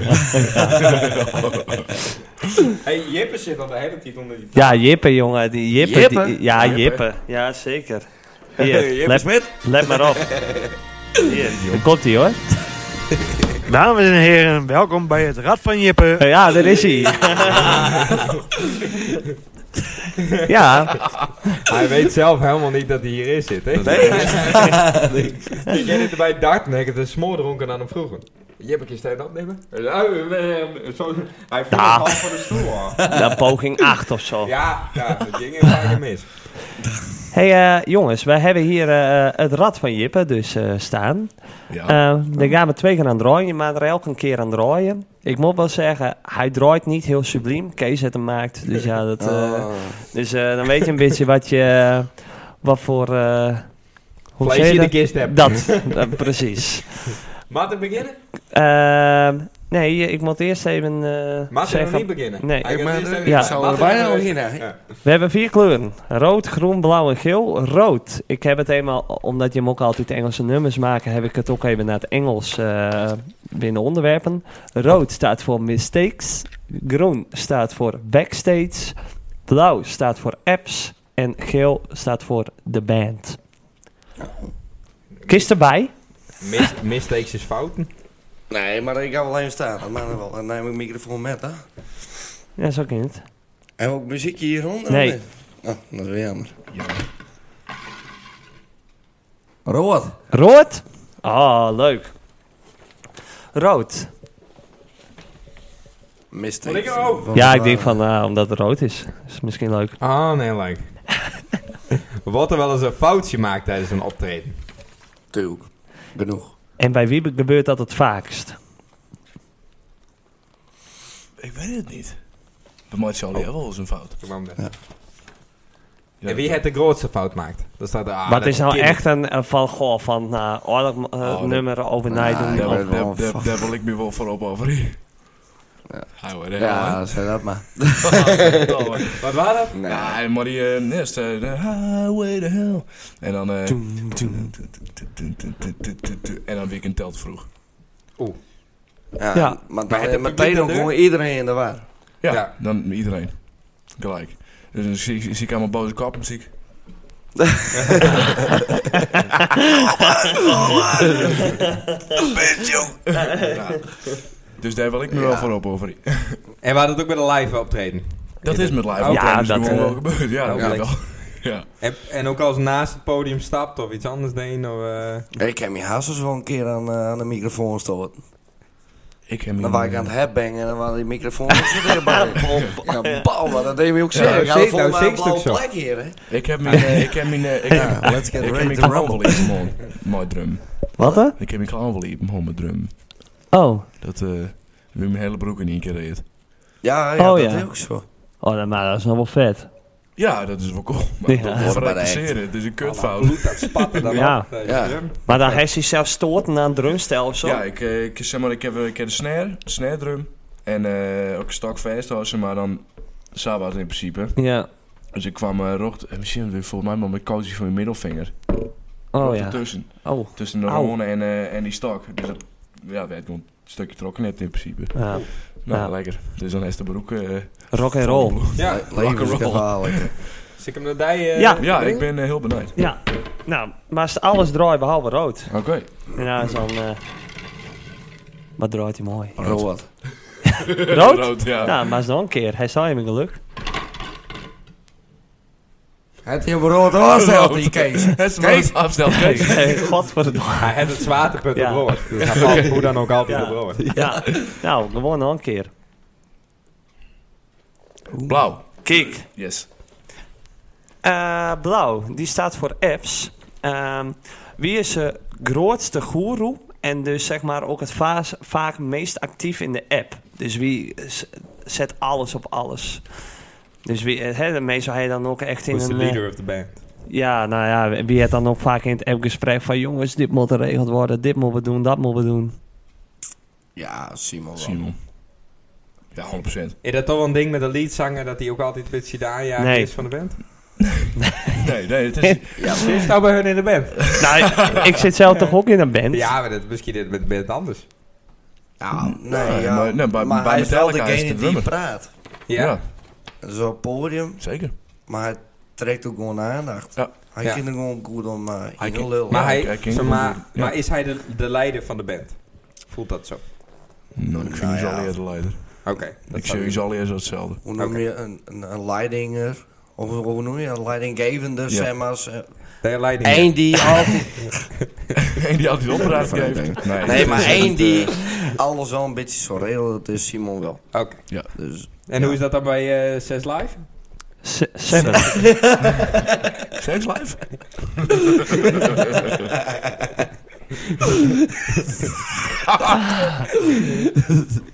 S1: Hé, hey, Jippe zit al de hele tijd onder die
S2: Ja, Jippe jongen, die Jippe. die-
S3: Jippe?
S2: ja,
S5: Jippe.
S2: Jippe, ja zeker. Hier, let,
S3: Smit?
S2: let maar op. Hier, daar komt hij hoor.
S7: Dames en heren, welkom bij het Rad van Jippen.
S2: Eh, Ja, daar is hij. ja,
S1: Hij weet zelf helemaal niet dat hij hierin zit, hè? Nee. Ik ken het erbij darten, hè. ik heb het smoordronken aan hem vroeger. Jippe, kun je het opnemen? Zo, Hij viel
S2: Ja.
S1: half van de stoel af.
S2: dan poging 8 of zo.
S1: Ja, ja, dat ging heel vaak mis.
S2: Hey eh, jongens, wij hebben hier eh, het rad van Jippe dus eh, staan.
S5: Ja.
S2: Eh, daar gaan we twee keer aan draaien, maar er elke keer aan draaien. Ik moet wel zeggen, hij draait niet heel subliem. Kees het hem maakt, dus ja, dat, eh,
S1: Oh.
S2: dus, eh, dan weet je een beetje wat je, wat voor... eh hoe
S1: Vlees
S2: zeg
S1: in de
S2: dat?
S1: kist hebt.
S2: Dat, dat, precies.
S1: Mag het beginnen?
S2: Ehm, nee, ik moet eerst even eh,
S1: Mag het nog
S2: zeggen...
S1: niet beginnen?
S2: Nee. eh,
S1: Hij
S3: Ik,
S1: kan
S3: maar, eh,
S1: eerst even-
S3: ik
S2: Ja.
S3: zou
S1: Mag
S3: er
S1: het
S3: bijna
S1: nog
S3: al
S1: niet?
S3: in, hè?
S1: Ja.
S2: We hebben vier kleuren. Rood, groen, blauw en geel. Rood. Ik heb het eenmaal, omdat je hem ook altijd Engelse nummers maken, heb ik het ook even naar het Engels eh, binnen onderwerpen. Rood staat voor mistakes. Groen staat voor backstage. Blauw staat voor apps. En geel staat voor de band. Kist erbij.
S1: Mis- mistakes is fouten.
S3: Nee, maar ik ga wel even staan. Dat maakt nog wel. Dan neem ik microfoon met, hè?
S2: Ja, zo kan het.
S3: En ook muziekje hieronder?
S2: Nee.
S3: of niet? Oh, dat is weer jammer. Rood.
S2: Rood. Ah, leuk. Rood.
S3: Mistake.
S1: Wil ik er ook?
S3: Van
S2: Ja,
S3: de
S2: ik denk
S3: waren.
S2: van, ah, omdat het rood is. Is misschien leuk.
S1: Ah, nee, like. Wat er wel eens een foutje maakt tijdens een optreden.
S3: Tuurlijk. Genoeg.
S2: En bij wie gebeurt dat het vaakst?
S5: Ah, Ik weet het niet. Bij mij zal hij wel eens een fout.
S1: Toen kwam dat.
S5: Ja,
S1: en wie het de grootste fout maakt? Dat staat er aan.
S2: Wat is nou echt een eh, van goh van nou, oorlog eh,
S5: Oh, dat-
S2: nummer overnight
S3: Ah,
S2: doen?
S5: Daar,
S3: Ja,
S5: daar, daar,
S3: oh,
S5: daar-
S3: fuck.
S5: daar wil ik me wel voorop over in. Hij wordt heel hard.
S3: Ja, zeg dat maar.
S1: Wat was dat?
S3: Nee.
S5: Ja, en maar die eh, eerst eh, de highway to hell. En dan... eh, En dan weekend telt vroeg.
S3: Ja,
S2: Ja.
S1: Maar
S3: Maar,
S1: het
S3: maar,
S1: publiek
S3: meteen ook
S1: erdoor?
S3: gewoon iedereen in de war.
S5: Ja,
S1: Ja.
S5: dan iedereen. Gelijk. Dus dan zie, ik- zie ik allemaal boze kappen, zie ik... Bitch, jong! Ja. Dus daar wil ik me wel voor opofferen.
S1: En we hadden het ook met een live optreden.
S5: Dat is met live
S2: Ja,
S5: optredens
S2: dat,
S5: gewoon
S2: eh,
S5: dus wel gebeurd. Ja, dat
S1: ja.
S5: weet ik wel. Ja.
S1: En, en ook als naast het podium stapt of iets anders deed. Of, eh,
S3: Ik heb mijn hazels wel een keer aan, eh, aan de microfoon gestoten.
S5: Ik heb
S3: Dan was ik aan het headbangen en dan waren die microfoons er weer bij. Ja, bam, maar dat deed me ook zin.
S1: Ja,
S3: ik had
S1: zeker,
S3: volgens mij een
S1: zeker
S3: blauwe
S1: zo.
S3: plek hier, hè.
S5: Ik heb mijn... eh, Ik heb mijn... eh, Ik heb
S3: Ja, let's get
S5: ik heb
S3: ready
S5: mijn
S3: to
S5: clown
S3: rumble.
S5: wel even, man. Mooi drum.
S2: Wat hè?
S5: Ik heb mijn clown wel even, man, met drum.
S2: Oh.
S5: Dat... eh Weer mijn hele broek in één keer reed.
S3: Ja, ja
S2: Oh,
S3: dat
S2: ja.
S3: is ook zo.
S2: Oh, dan- maar dat is nog wel vet.
S5: Ja, dat is wel cool. Maar
S2: Ja.
S5: dat wordt
S3: Maar dat
S5: recenseren. Het is een kutfout.
S1: bloed dat spatte dan
S2: Ja.
S1: op. eh,
S3: Ja.
S1: drum.
S2: Maar dan heeft hij zelf stoten aan een drumstel of zo.
S5: Ja, ik, eh, ik, zeg maar, ik, heb, ik heb de snare, de snare drum. En eh, ook stokvast was ze, maar dan Sabbat in principe.
S2: Ja.
S5: Dus ik kwam eh rocht, eh, misschien weer volgens mij maar met cozy van mijn middelvinger.
S2: Oh
S5: Rocht
S2: ja.
S5: Ertussen,
S2: Oh.
S5: tussen de
S2: Au.
S5: hoorn en, eh, en die stok. Dus dat ja, werd gewoon een stukje trokken net in principe.
S2: Ja.
S5: Nou,
S2: Ja.
S5: lekker. Dus dan is de broek... eh,
S2: Rock and roll.
S1: Ja,
S3: Levensgevaarlijk.
S1: zit ik hem naar die, eh,
S2: Ja.
S5: ja, ik ben eh, heel benieuwd.
S2: Ja. Nou, maar als alles draait behalve rood.
S5: Oké.
S2: En dan is dan. eh, wat draait hij mooi?
S3: Robot.
S2: Rood?
S5: Rood, ja.
S2: Nou, maar is dan een keer. Hij zei hem een geluk.
S3: Het is een rood oorstel, die Kees.
S5: Het is maar eens afstel. Kees.
S2: Hey, godverdomme.
S1: Hij heeft het zwaartepunt
S2: Ja.
S1: op brood. Dus hij valt hoe dan ook altijd op brood.
S2: Ja. Nou, gewoon nog een keer.
S5: Blauw.
S2: Kijk.
S5: Yes.
S2: Eh, blauw, die staat voor apps. Ehm, wie is de grootste goeroe en dus zeg maar ook het vaas- vaak meest actief in de app? Dus wie s- zet alles op alles? Dus wie, eh, hè, meestal hij dan ook echt in
S1: Who's the
S2: een... eh,
S1: leader of the band?
S2: ja, nou ja, wie het dan ook vaak in het appgesprek van... jongens, dit moet geregeld worden, dit moeten we doen, dat moeten we doen.
S3: Ja, Simon. wel.
S5: Simon. Ja, 100%.
S1: Is dat toch wel een ding met een leadzanger dat hij ook altijd een beetje de aanjager
S2: Nee.
S1: is van de band?
S5: Nee, nee, het is...
S1: Ze is nou bij hun in de band.
S2: nou, ik zit zelf toch ook in een band?
S1: Ja, maar dat, misschien is het met de band anders.
S3: Ja, nee,
S5: Nee,
S3: ja.
S5: maar- nee, bij-
S3: maar
S5: bij
S3: hij is wel
S5: Metallica is
S3: degene
S5: de
S3: die
S5: drummer.
S3: praat.
S1: Ja.
S5: ja,
S3: Zo op podium,
S5: zeker.
S3: maar hij trekt ook gewoon aandacht.
S5: Ja.
S3: Hij
S1: Ja.
S3: kan er gewoon goed om eh, in
S5: kan-
S3: de lul.
S1: Maar,
S5: Ja,
S1: hij,
S5: ik- ik denk
S1: zeg
S5: dat
S1: maar,
S5: het- ja.
S1: maar is hij de, de leider van de band? Voelt dat zo?
S5: Nou, ik vind
S3: Nou
S5: ze
S3: ja.
S5: al eerder leider.
S1: Oké. dat
S5: ik
S1: zou-
S5: zie ze al eerder als hetzelfde.
S3: Hoe noem je een, een, een leidinger? Of hoe noem je een leidinggevende, zeg maar. ze-
S1: de leiding.
S3: Eén die altijd...
S5: Eén die altijd opdracht geeft.
S3: Nee, maar eh, één die alles al een beetje zo regelt, dat is Simon wel.
S1: Oké.
S3: Dus
S1: En hoe is dat dan bij eh 6 Live?
S2: Se- Seven.
S5: Sex live?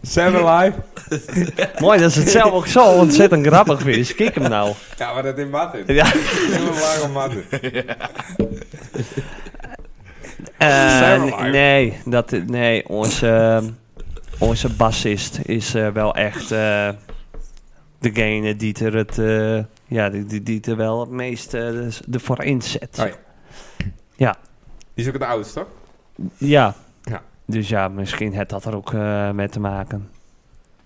S1: Seven Live?
S2: Mooi, dat is het zelf ook zo ontzettend grappig weer. Dus kijk hem nou.
S1: Ja, maar dat in Martin.
S2: Ja.
S1: Heel lang om Martin.
S2: Eh,
S1: Sarah Lyon.
S2: nee, dat, nee, onze, onze bassist is eh, wel echt eh, degene die er het, eh, ja, die, die, die er wel het meest eh, dus ervoor inzet.
S1: Oh ja.
S2: Ja.
S1: Die is ook het oudste, toch?
S2: ja.
S1: Ja.
S2: Dus ja, misschien had dat er ook eh, mee te maken.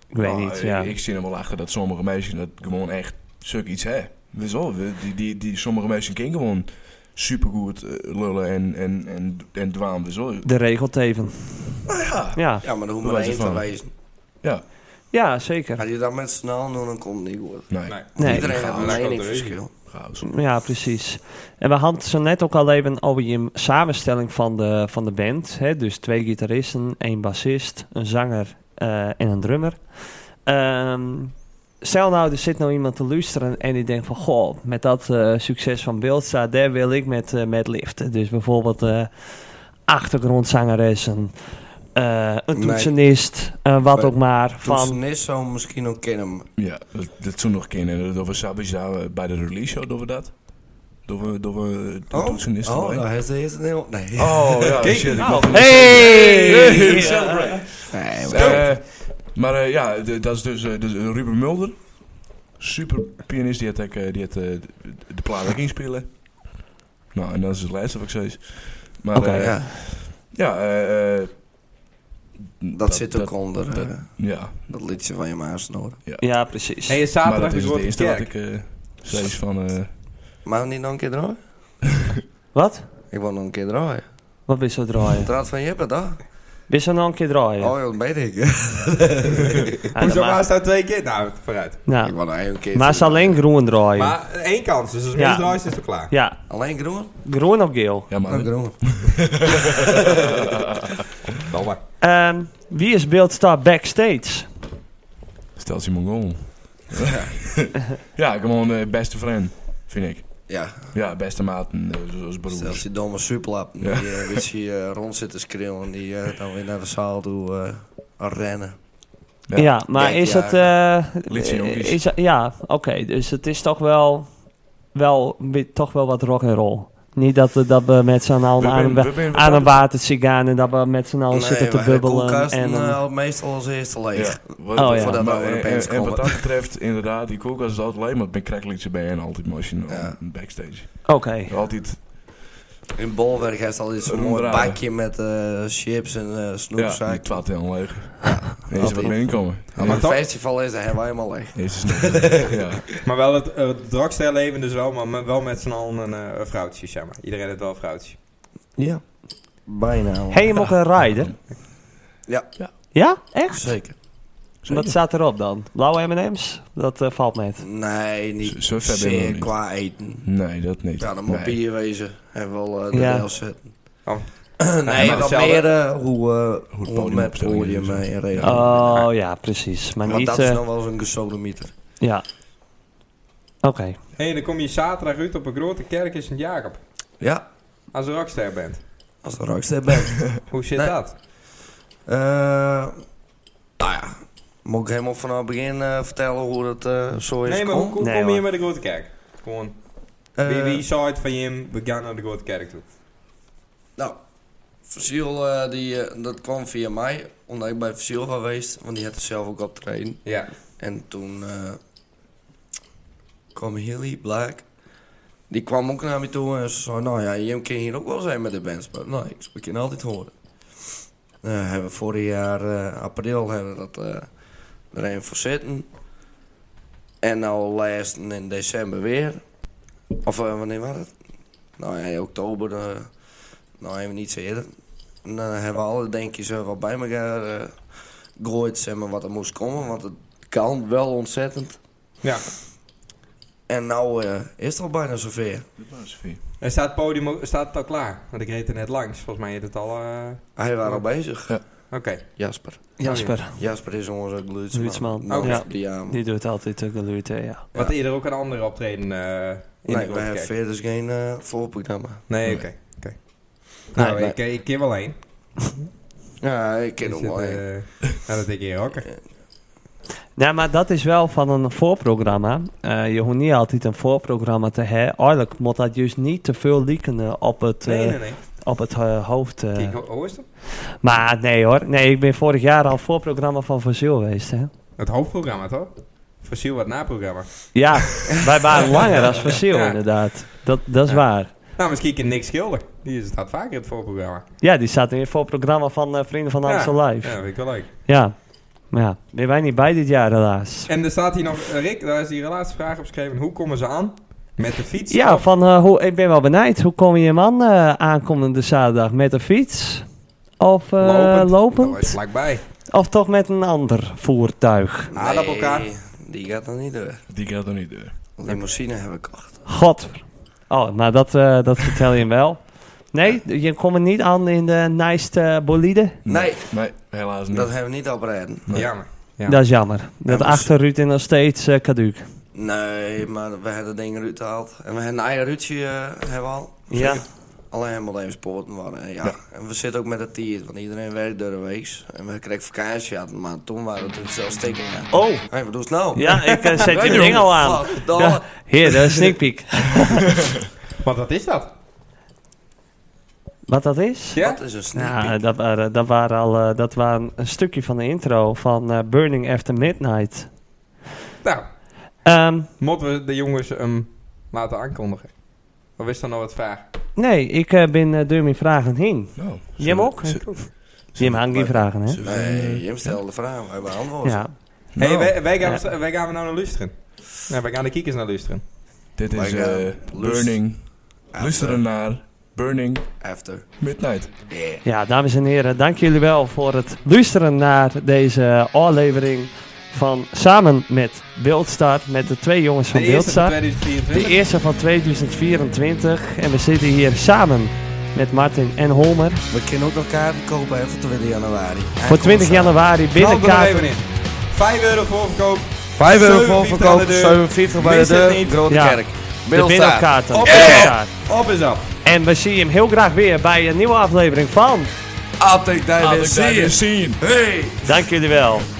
S2: Ik weet
S5: Nou,
S2: niet, ja.
S5: Ik, ik zie er wel achter dat sommige meisjes dat gewoon echt stuk iets hè. Dus wel, die, die, die, die sommige meisjes kunnen gewoon supergoed eh, lullen en, en, en, en dwaan. Dus wel,
S2: De regelt even.
S5: Nou ja.
S2: Ja,
S3: ja, maar dan hoeft maar
S5: Hoe was
S3: één
S5: het
S3: te
S5: van?
S3: wezen.
S5: ja.
S2: ja zeker.
S3: Als je dat met z'n allen doet, dan komt het niet goed.
S5: Nee,
S1: Nee.
S2: Nee.
S3: Iedereen
S1: Ja,
S3: heeft een
S1: dat komt
S3: meningsverschil.
S5: chaos.
S2: Ja, precies. En we hadden het zo net ook al even over je samenstelling van de, van de band. Hè? Dus twee gitaristen, één bassist, een zanger eh, en een drummer. Ehm, stel nou, er zit nou iemand te luisteren en die denkt van... Goh, met dat eh, succes van Beeldsta, daar wil ik met, eh, met liften. Dus bijvoorbeeld eh achtergrondzangeressen, eh, een
S3: Nee.
S2: toetsenist, eh, wat
S3: Nee.
S2: ook maar. Van,
S3: Van zou misschien ook kennen. maar-
S5: Ja, dat, dat toen nog kinderen. Dat we Sabi zagen bij de release show, doen we dat. Doen we, doen we de
S3: Oh,
S5: toetsenist
S3: oh
S5: erbij.
S3: daar heeft hij het heel... Nee.
S5: Oh ja, shit, ik
S2: Nou,
S5: mag-
S2: hey!
S5: Hey, celebrate.
S3: nee maar-
S5: Eh, maar eh, ja, d- dat is dus, eh, dus Ruben Mulder. Super pianist, die had, ook, eh, die had eh, de, de plaat ook inspelen. Nou, en dat is het laatste wat ik zei. Maar
S2: Oké,
S5: eh, ja,
S3: ja,
S5: eh, eh,
S3: dat, zit ook onder eh,
S5: dat-
S3: dat,
S5: ja,
S3: liedje van je maasnoren.
S2: Ja, precies.
S1: En je
S5: maar
S1: zaterdag
S5: dat
S1: is
S5: is het
S1: wordt
S5: eerste wat ik
S1: kerk.
S5: eh zei is van... eh,
S3: Maar niet nog een keer draaien?
S2: Wat?
S3: Ik wil nog een keer draaien.
S2: Wat ben je zo draaien?
S3: Het raad van Jeppe, toch?
S2: Wist je nog een keer draaien?
S3: Oh, joh, dat weet ik.
S2: Ja,
S1: Hoezo
S2: maar-
S1: maar staat twee keer? Nou, vooruit.
S2: nou,
S3: ik wou nou een keer.
S2: maar ze alleen groen draaien.
S1: Maar één kans, dus als
S2: Ja.
S1: misdraai is het wel klaar.
S2: Ja,
S3: Alleen groen?
S2: groen of geel.
S5: Ja, maar
S3: Oh, groen.
S1: Wel maar.
S2: Ehm, wie is beeldstar backstage?
S5: eh, stel Simon Gommel. ja, gewoon eh, beste vriend, vind ik.
S3: Ja,
S5: Ja, beste maten, eh, zoals broers.
S3: zelfs die domme superlap. Die
S5: Ja.
S3: eh, weet je eh, rond zitten schreeuwen. en Die eh, dan weer naar de zaal toe eh, aan rennen.
S2: Ja, maar
S3: Denk,
S2: is
S3: ja.
S2: het... eh,
S5: Liedse jonkies.
S2: is, ja, oké. dus het is toch wel, wel, wi- toch wel wat rock'n'roll. Niet dat we, dat we met z'n allen
S5: We
S2: aan,
S5: ben-
S2: een wa-
S5: we ben- we
S2: aan een
S5: zijn-
S2: watertje gaan en dat we met z'n allen zitten te
S3: maar de
S2: bubbelen.
S3: koelkast
S2: En,
S3: eh,
S2: eh,
S3: haalt meestal als eerste leeg.
S5: Ja. Wat,
S2: Oh, ja.
S3: Voordat
S5: Maar,
S3: we
S5: en,
S3: opeens
S5: en- en wat
S3: komen.
S5: dat betreft, inderdaad, die koelkast is altijd alleen maar met crackliedje bij en altijd machine
S3: Ja.
S5: backstage.
S2: Oké.
S5: Altijd,
S3: In Bolwerk heeft al iets zo'n mooi
S5: Ronddraaien.
S3: bakje met eh, chips en eh
S5: ja, die
S3: snoepzak.
S5: twat helemaal leeg. Eerst is er wat meer inkomen.
S3: Aan
S1: Maar
S3: het
S1: toch-
S3: festival is dat helemaal helemaal leeg.
S5: Eerst is het nog- ja.
S1: Maar wel het uh, leven dus wel, maar met- wel met z'n allen een eh, vrouwtje, zeg maar. Iedereen heeft wel een vrouwtje.
S3: Ja. Bijna. hoor.
S2: Hey, je mag een rijden.
S3: Ja.
S2: Ja? Echt?
S3: Zeker.
S2: Wat staat erop dan? Blauwe M&M's? Dat eh, valt met.
S3: Nee, niet
S5: Zo- zo ver ben ik nog
S3: zeer
S5: niet.
S3: qua eten.
S5: Nee, dat niet.
S3: Ja, dan moet
S5: nee.
S3: bier wezen. En wel eh de
S2: Ja.
S3: rails zetten.
S1: Oh.
S3: nee,
S1: maar
S3: wat
S1: hetzelfde-
S3: meer eh, hoe, eh,
S5: het
S3: hoe,
S5: podium
S3: met
S5: opstelling
S3: podium
S5: is.
S3: mee in regel.
S2: Oh ja, precies. Maar
S3: Want
S2: niet.
S3: dat is
S2: eh,
S3: dan wel zo'n gesodemieter.
S2: Ja. Oké.
S1: Hé, hey, dan kom je zaterdag uit op een grote kerk in Sint-Jacob.
S3: Ja,
S1: Als een rockster bent.
S3: als de rockster bent.
S1: Hoe zit
S3: Nee.
S1: dat?
S3: Eh, nou ja, moet ik helemaal vanaf het begin eh, vertellen hoe dat eh, zo is
S1: Nee, maar hoe,
S3: gekomen?
S1: hoe
S2: Nee,
S1: kom je
S2: hoor.
S1: bij de grote kerk? Gewoon, wie,
S3: Eh,
S1: wie zei het van Jim, we gaan naar de grote kerk toe.
S3: Nou, Versiel, eh, die, eh, dat kwam via mij, omdat ik bij Versiel geweest, want die had er zelf ook optreden.
S1: Ja.
S3: En toen eh, kwam Hilly Black. Die kwam ook naar me toe en ze zei: Nou ja, je kan hier ook wel zijn met de bands. Maar nou, ik we kunnen altijd horen. Eh, hebben we vorig jaar eh, april hebben we dat eh er een voor zitten. En nou laatst in december weer. Of eh, wanneer was het? Nou ja, in oktober. eh, nou, even niet zo eerder. En dan hebben we alle denkjes eh, wel bij elkaar eh, gegooid, zeg maar, wat er moest komen. Want het kan wel ontzettend.
S1: Ja.
S3: En nou eh, is het al bijna zover.
S5: Nou,
S1: En staat het podium ook- staat het al klaar? Want ik reed er net langs. Volgens mij heet het al... eh,
S3: Hij was al bezig.
S1: Oké.
S3: Jasper.
S2: Jasper,
S3: Jasper is onze glutsman.
S2: Glutsman,
S3: Nou,
S2: ja.
S3: die, ja.
S2: die doet altijd de geluid, hè, ja.
S1: Wat eerder ook een andere optreden eh, in
S3: Nee,
S1: de
S3: wij
S1: grote
S3: hebben
S1: kerk.
S3: verder dus geen eh voorprogramma.
S1: Nee, oké. oké. Nou,
S3: Nee,
S1: ik, ik ken wel één.
S3: Ja, ik ken
S1: Is
S3: hem
S1: het,
S3: wel. hè.
S1: eh, nou, dat denk ik hier ook.
S2: Nou, maar dat is wel van een voorprogramma. Eh, je hoeft niet altijd een voorprogramma te hebben. Eigenlijk moet dat juist niet te veel lieken op het, eh,
S1: Nee, nee, nee.
S2: op het eh, hoofd. eh.
S1: Kijk, ho- hoe is dat?
S2: Maar nee hoor, nee, ik ben vorig jaar al voorprogramma van Fossiel geweest, hè.
S1: Het hoofdprogramma, toch? Fossiel wat naprogramma.
S2: Ja, wij waren langer als Fossiel,
S1: Ja.
S2: inderdaad. Dat, dat is waar.
S1: Nou, misschien kan Nick Schilder. Die is- staat vaker in het voorprogramma.
S2: Ja, die staat in het voorprogramma van eh, Vrienden van Amstel
S1: ja.
S2: Live.
S1: Ja, vind ik wel leuk.
S2: Ja, maar ja, ben wij niet bij dit jaar helaas.
S1: En er staat hier nog... eh, Rick, daar is die relatievraag op geschreven. Hoe komen ze aan? Met de fiets?
S2: Ja,
S1: Of-
S2: van, eh, hoe, ik ben wel benijd. Hoe kom je man eh aankomende zaterdag? Met de fiets? Of eh, lopend?
S1: Dat is vlakbij.
S2: Of toch met een ander voertuig?
S3: Nee,
S1: aardappelkaart.
S3: die gaat dan niet door.
S5: Die gaat er niet door.
S3: Limousine hebben we gekocht.
S2: God. Oh, maar dat, eh, dat vertel je hem wel. Nee, je komt er niet aan in de nice eh, bolide.
S3: Nee,
S5: Nee, helaas niet.
S3: dat hebben we niet oprijden.
S1: Jammer. Ja.
S2: Dat is jammer. Dat
S3: maar-
S2: achterruit is nog steeds eh kaduuk.
S3: Nee, maar we hebben dat ding eruit gehaald. En we hebben een eigen ruitje eh, hebben we al.
S2: Ja.
S3: Alleen helemaal even sporten waren. En ja. En we zitten ook met het tier, want iedereen werkt door de week. En we kregen vakantie, ja, maar toen waren het zelfs stikkingen. Hé,
S2: Oh.
S3: wat doe je nou?
S2: Ja, ik eh, zet je
S3: jongen.
S2: ding al aan.
S3: Goddamme.
S2: Ja, hier, dat is een sneak peek.
S1: Want wat is dat?
S2: Wat dat is?
S1: Ja?
S3: Dat is een sneak
S2: Ja, eh,
S3: peek.
S2: dat waren, dat waren al eh, dat waren een stukje van de intro van eh, Burning After Midnight.
S1: Nou,
S2: Ehm,
S1: moeten we de jongens hem laten aankondigen? Of is er nog wat vraag?
S2: nee, ik eh, ben eh, door mijn vragen heen.
S5: Nou,
S2: Jim ook? Jim hangt die vragen, hè?
S3: Nee, Jim stelde de vraag, wij beantwoorden ze.
S2: eh, Ja.
S1: Hé,
S5: Nou.
S1: wij, wij, gaan, we- wij gaan we nou naar luisteren. Nee, wij gaan de kiekers naar luisteren.
S5: Dit
S3: Maar
S5: is
S3: ik, eh,
S5: eh,
S3: lust-
S5: Burning. Luisteren naar Burning
S3: After.
S5: Midnight.
S3: Yeah.
S2: Ja, dames en heren, dank jullie wel voor het luisteren naar deze eh, aflevering van Samen met Beeldstart, met de twee jongens van
S1: De eerste van
S2: Beeldstart. De
S1: 2024.
S2: eerste van 2024 en we zitten hier samen met Martin en Holmer
S3: We kunnen ook nog kaarten kopen hè, voor 20 januari.
S2: voor 20 januari
S1: Knal er nog
S2: binnenkaarten.
S1: even in. 5 euro voorverkoop.
S3: 5 euro
S1: €7,50
S3: voor verkoop,
S1: aan de deur.
S3: 47 bij de
S1: Mis het
S3: deur.
S1: niet.
S3: Grote
S2: Ja.
S3: Kerk.
S2: De
S3: Middelstaat.
S2: binnenkaarten.
S1: Op
S2: binnenkaart.
S1: Op is op.
S2: En we zien hem heel graag weer bij een nieuwe aflevering van.
S3: Altijd daar weer
S5: Laat ik daar
S3: zien.
S5: weer zien.
S3: Hey!
S2: Dank jullie wel.